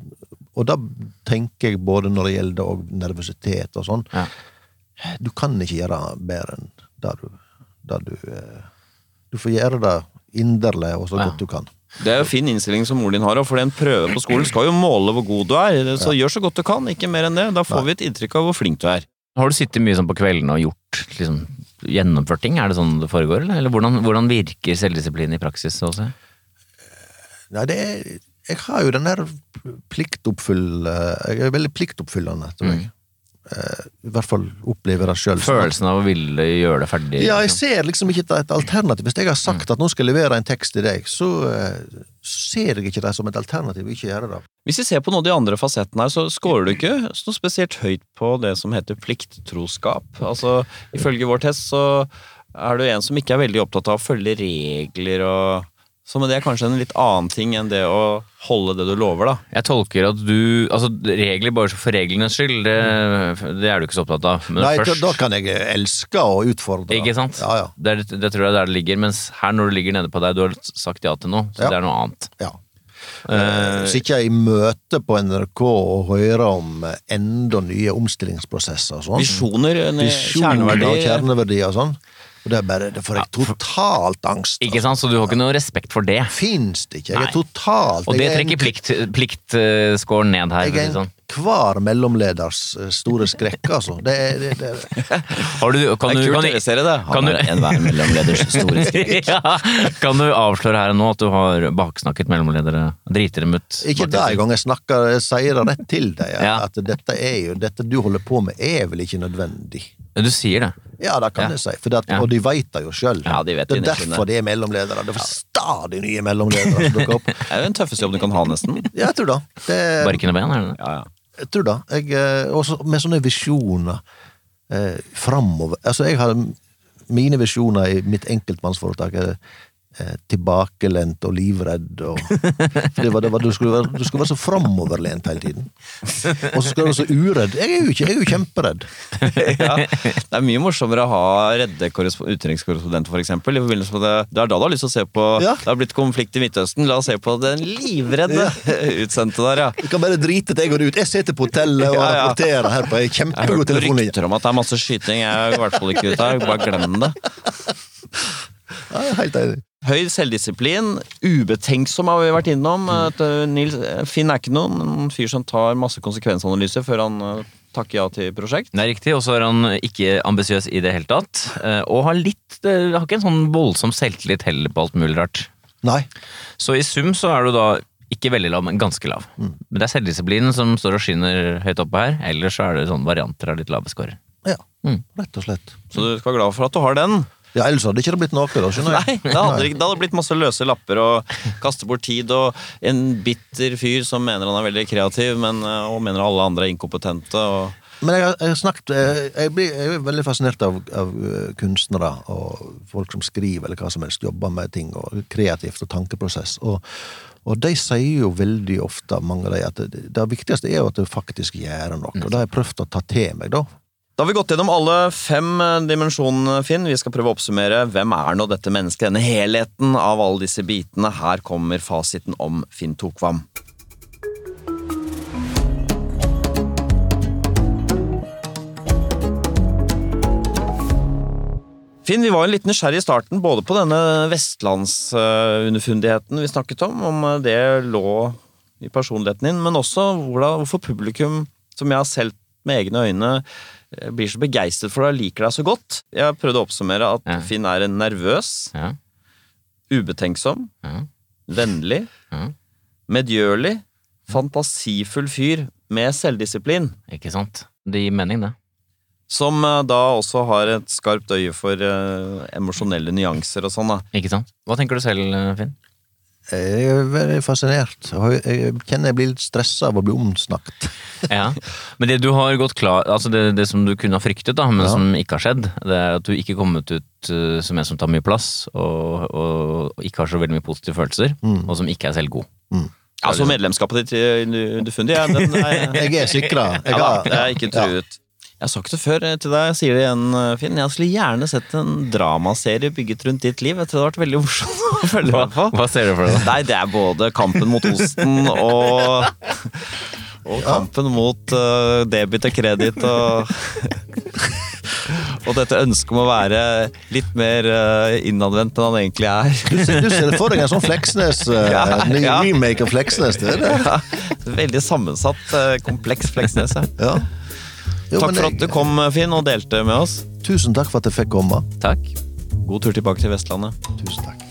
Speaker 4: Og da tenker jeg både når det gjelder og nervøsitet og sånn.
Speaker 3: Ja.
Speaker 4: Du kan ikke gjøre bedre enn det du, det du eh, Du får gjøre det inderlig og så
Speaker 3: Ja.
Speaker 4: godt du kan.
Speaker 2: Det er jo fin innstilling som moren din har, og for en prøve på skolen skal jo måle hvor god du er. Så gjør så godt du kan, ikke mer enn det. Da får vi et inntrykk av hvor flink du er.
Speaker 3: Har du sittet mye sånn på kveldene og gjort liksom, gjennomført ting? Er det sånn det foregår, eller? eller hvordan, hvordan virker selvdisiplin i praksis også?
Speaker 4: Nei, det er, jeg har jo den der pliktoppfyll... Jeg er veldig pliktoppfyllende, tror jeg. Eh, I hvert fall opplever jeg det sjøl.
Speaker 3: Mm. Følelsen av å ville gjøre det ferdig?
Speaker 4: Ja, jeg
Speaker 3: liksom.
Speaker 4: ser liksom ikke et et alternativ. Hvis jeg har sagt
Speaker 3: Mm.
Speaker 4: at nå skal jeg levere en tekst til deg, så eh, ser jeg ikke det som et alternativ å ikke gjøre det.
Speaker 2: Hvis vi ser på noen av de andre fasettene her, så scorer du ikke så spesielt høyt på det som heter plikttroskap. Altså, ifølge vår test så er du en som ikke er veldig opptatt av å følge regler og Så men det er kanskje en litt annen ting enn det å holde det du lover, da.
Speaker 3: Jeg tolker at du Altså, regler bare for reglenes skyld, det, det er du ikke så opptatt av. Men
Speaker 4: Nei, da,
Speaker 3: først,
Speaker 4: da kan jeg elske å utfordre.
Speaker 3: Ikke sant?
Speaker 4: Ja, ja.
Speaker 3: Det, er, det tror jeg er der det ligger. Mens her, når du ligger nede på deg, du har sagt ja til noe, så
Speaker 4: Ja.
Speaker 3: det er noe annet.
Speaker 4: ja. Eh, Sitte i møte på NRK og høre om eh, enda nye omstillingsprosesser og sånn.
Speaker 2: Visjoner, en eh,
Speaker 4: Visjoner og
Speaker 2: kjerneverdi.
Speaker 4: kjerneverdier og sånn. Og det er bare, det får jeg totalt angst.
Speaker 3: Ikke sant? Så du har ikke noe respekt for det.
Speaker 4: Fins det ikke. Jeg
Speaker 3: Nei.
Speaker 4: er totalt
Speaker 3: Og det
Speaker 4: jeg er en-
Speaker 3: trekker pliktscoren plikt, eh, scoren ned
Speaker 4: Jeg
Speaker 3: her. for å
Speaker 4: er
Speaker 3: si
Speaker 4: en
Speaker 3: sånn.
Speaker 4: hver mellomleders eh, store skrekk, altså. Det, er- det, det.
Speaker 3: Har
Speaker 2: Det
Speaker 3: du, kan, du,
Speaker 2: er
Speaker 3: kan,
Speaker 2: kult å realisere det.
Speaker 3: kan
Speaker 2: Han
Speaker 3: du-
Speaker 2: er enhver mellomleders store skritt.
Speaker 3: ja, kan du avsløre her og nå at du har baksnakket mellomledere? Driter dem ut?
Speaker 4: Ikke det
Speaker 3: Martin?
Speaker 4: engang. Jeg snakker, jeg sier det rett til deg.
Speaker 3: Ja.
Speaker 4: At dette, er jo, dette du holder på med, er vel ikke nødvendig.
Speaker 3: Du sier det.
Speaker 4: Ja, det kan
Speaker 3: Ja.
Speaker 4: jeg si. For det, at-
Speaker 3: Ja.
Speaker 4: Og de veit det jo sjøl.
Speaker 2: Ja, de vet
Speaker 4: det er
Speaker 2: innerst inne.
Speaker 4: derfor det er mellomledere. Det er stadig nye mellomledere som dukker opp.
Speaker 2: Det er jo den tøffeste jobben du kan ha, nesten.
Speaker 4: Ja, jeg tror det. det
Speaker 3: Barken og ben, er det det?
Speaker 2: Ja, ja.
Speaker 4: Jeg tror det. Jeg, eh, også med sånne visjoner eh, framover Altså, jeg har mine visjoner i mitt enkeltmannsforetak er eh, tilbakelent og livredd og det var, det var, du, skulle være, du skulle være så framoverlent hele tiden. Og så skal du være så uredd. Jeg er jo, ikke, jeg er jo kjemperedd.
Speaker 2: ja. Det er mye morsommere å ha redde korrespo- utenrikskorrespondenter, for eksempel, i forbindelse med det. Det er da du har lyst til å se på
Speaker 4: Ja.
Speaker 2: Det har blitt konflikt i Midtøsten, la oss se på den livredde utsendte der, ja.
Speaker 4: Jeg kan bare drite til jeg går ut. Jeg sitter på hotellet og
Speaker 2: Ja, ja.
Speaker 4: rapporterer her på ei
Speaker 2: Jeg har
Speaker 4: kjempegod
Speaker 2: hørt noen
Speaker 4: telefonlinje.
Speaker 2: rykter om at det er masse skyting. Jeg er i hvert fall ikke ute her. Bare glem det.
Speaker 4: Ja, jeg er helt enig.
Speaker 2: Høy selvdisiplin. Ubetenksom har vi vært innom. At, uh, Nils, Finn er ikke noen en fyr som tar masse konsekvensanalyser før han uh, takker ja til prosjekt.
Speaker 3: Det er riktig, og så er han ikke ambisiøs i det hele tatt. eh, Og har litt eh, Har ikke en sånn voldsom selvtillit heller på alt mulig rart.
Speaker 4: Nei.
Speaker 3: Så i sum så er du da ikke veldig lav, men ganske lav.
Speaker 4: Mm.
Speaker 3: Men det er selvdisiplinen som står og skinner høyt oppe her. Ellers så er det sånne varianter av litt lave scorer.
Speaker 4: Ja.
Speaker 3: Mm.
Speaker 4: Rett og slett.
Speaker 2: Så du skal være glad for at du har den.
Speaker 4: Ja, ellers hadde ikke det blitt noe, da, skjønner
Speaker 2: Nei,
Speaker 4: jeg.
Speaker 2: det hadde, det ikke- det hadde blitt masse løse lapper og kaste bort tid og en bitter fyr som mener han er veldig kreativ, men, eh, og mener alle andre er inkompetente. Og
Speaker 4: Men jeg har, jeg har snakket eh, jeg, blir, jeg er veldig fascinert av, av eh, kunstnere og folk som skriver eller hva som helst, jobber med ting og kreativt og tankeprosess. Og, Og de sier jo veldig ofte, mange av de, at det, det viktigste er jo at du faktisk gjør noe. Og det har jeg prøvd å ta til meg, da.
Speaker 2: Da har vi gått gjennom alle fem eh, dimensjonene, Finn. Vi skal prøve å oppsummere hvem er nå dette mennesket, denne helheten av alle disse bitene. Her kommer fasiten om Finn Tokvam. Finn, vi var jo litt nysgjerrig i starten, både på denne vestlandsunderfundigheten vi snakket om, om eh, det lå i personligheten din, men også hvordan, hvorfor publikum, som jeg har selv med egne øyne, eh, blir så begeistret for deg og liker deg så godt. Jeg prøvde å oppsummere at
Speaker 3: Ja.
Speaker 2: Finn er en nervøs,
Speaker 3: Ja.
Speaker 2: ubetenksom,
Speaker 3: Ja.
Speaker 2: vennlig,
Speaker 3: Ja.
Speaker 2: medgjørlig, fantasifull fyr med selvdisiplin,
Speaker 3: Ikke sant? Det gir mening, det.
Speaker 2: som eh, da også har et skarpt øye for eh, emosjonelle nyanser og sånn. da.
Speaker 3: Ikke sant? Hva tenker du selv, eh, Finn?
Speaker 4: Jeg er veldig fascinert. og Jeg jeg kjenner jeg blir litt stressa av å bli omsnakket.
Speaker 3: Ja. Men det du har gått klar Altså det, det som du kunne ha fryktet, da, men
Speaker 4: Ja.
Speaker 3: som ikke har skjedd, det er at du ikke kommet ut eh, som en som tar mye plass, og, og, og ikke har så veldig mye positive følelser, og som ikke er selvgod.
Speaker 2: Altså medlemskapet ditt i Underfundig, ja, den er
Speaker 4: Jeg er sikra. Jeg
Speaker 2: Ja da,
Speaker 4: har,
Speaker 2: det er ikke truet. Jeg har sagt det før eh, til deg, jeg sier det igjen, eh, Finn. Jeg skulle gjerne sett en dramaserie bygget rundt ditt liv. Jeg tror det hadde vært veldig morsomt å følge med på.
Speaker 3: Hva ser du for deg? da?
Speaker 2: Nei, det er både kampen mot osten og Og kampen mot eh, debit og kreditt og Og dette ønsket om å være litt mer eh, innadvendt enn han egentlig er.
Speaker 4: du, ser- du ser for deg en sånn Fleksnes, eh,
Speaker 2: Ja,
Speaker 4: ny
Speaker 2: ja.
Speaker 4: remake av Fleksnes. Det, er det.
Speaker 2: Ja, veldig sammensatt, eh, kompleks Fleksnes. ja.
Speaker 4: Ja. Jo,
Speaker 2: Takk
Speaker 4: men
Speaker 2: for
Speaker 4: jeg-
Speaker 2: at du kom, Finn, og delte med oss.
Speaker 4: Tusen takk for at jeg fikk komme.
Speaker 3: Takk.
Speaker 2: God tur tilbake til Vestlandet.
Speaker 4: Tusen takk.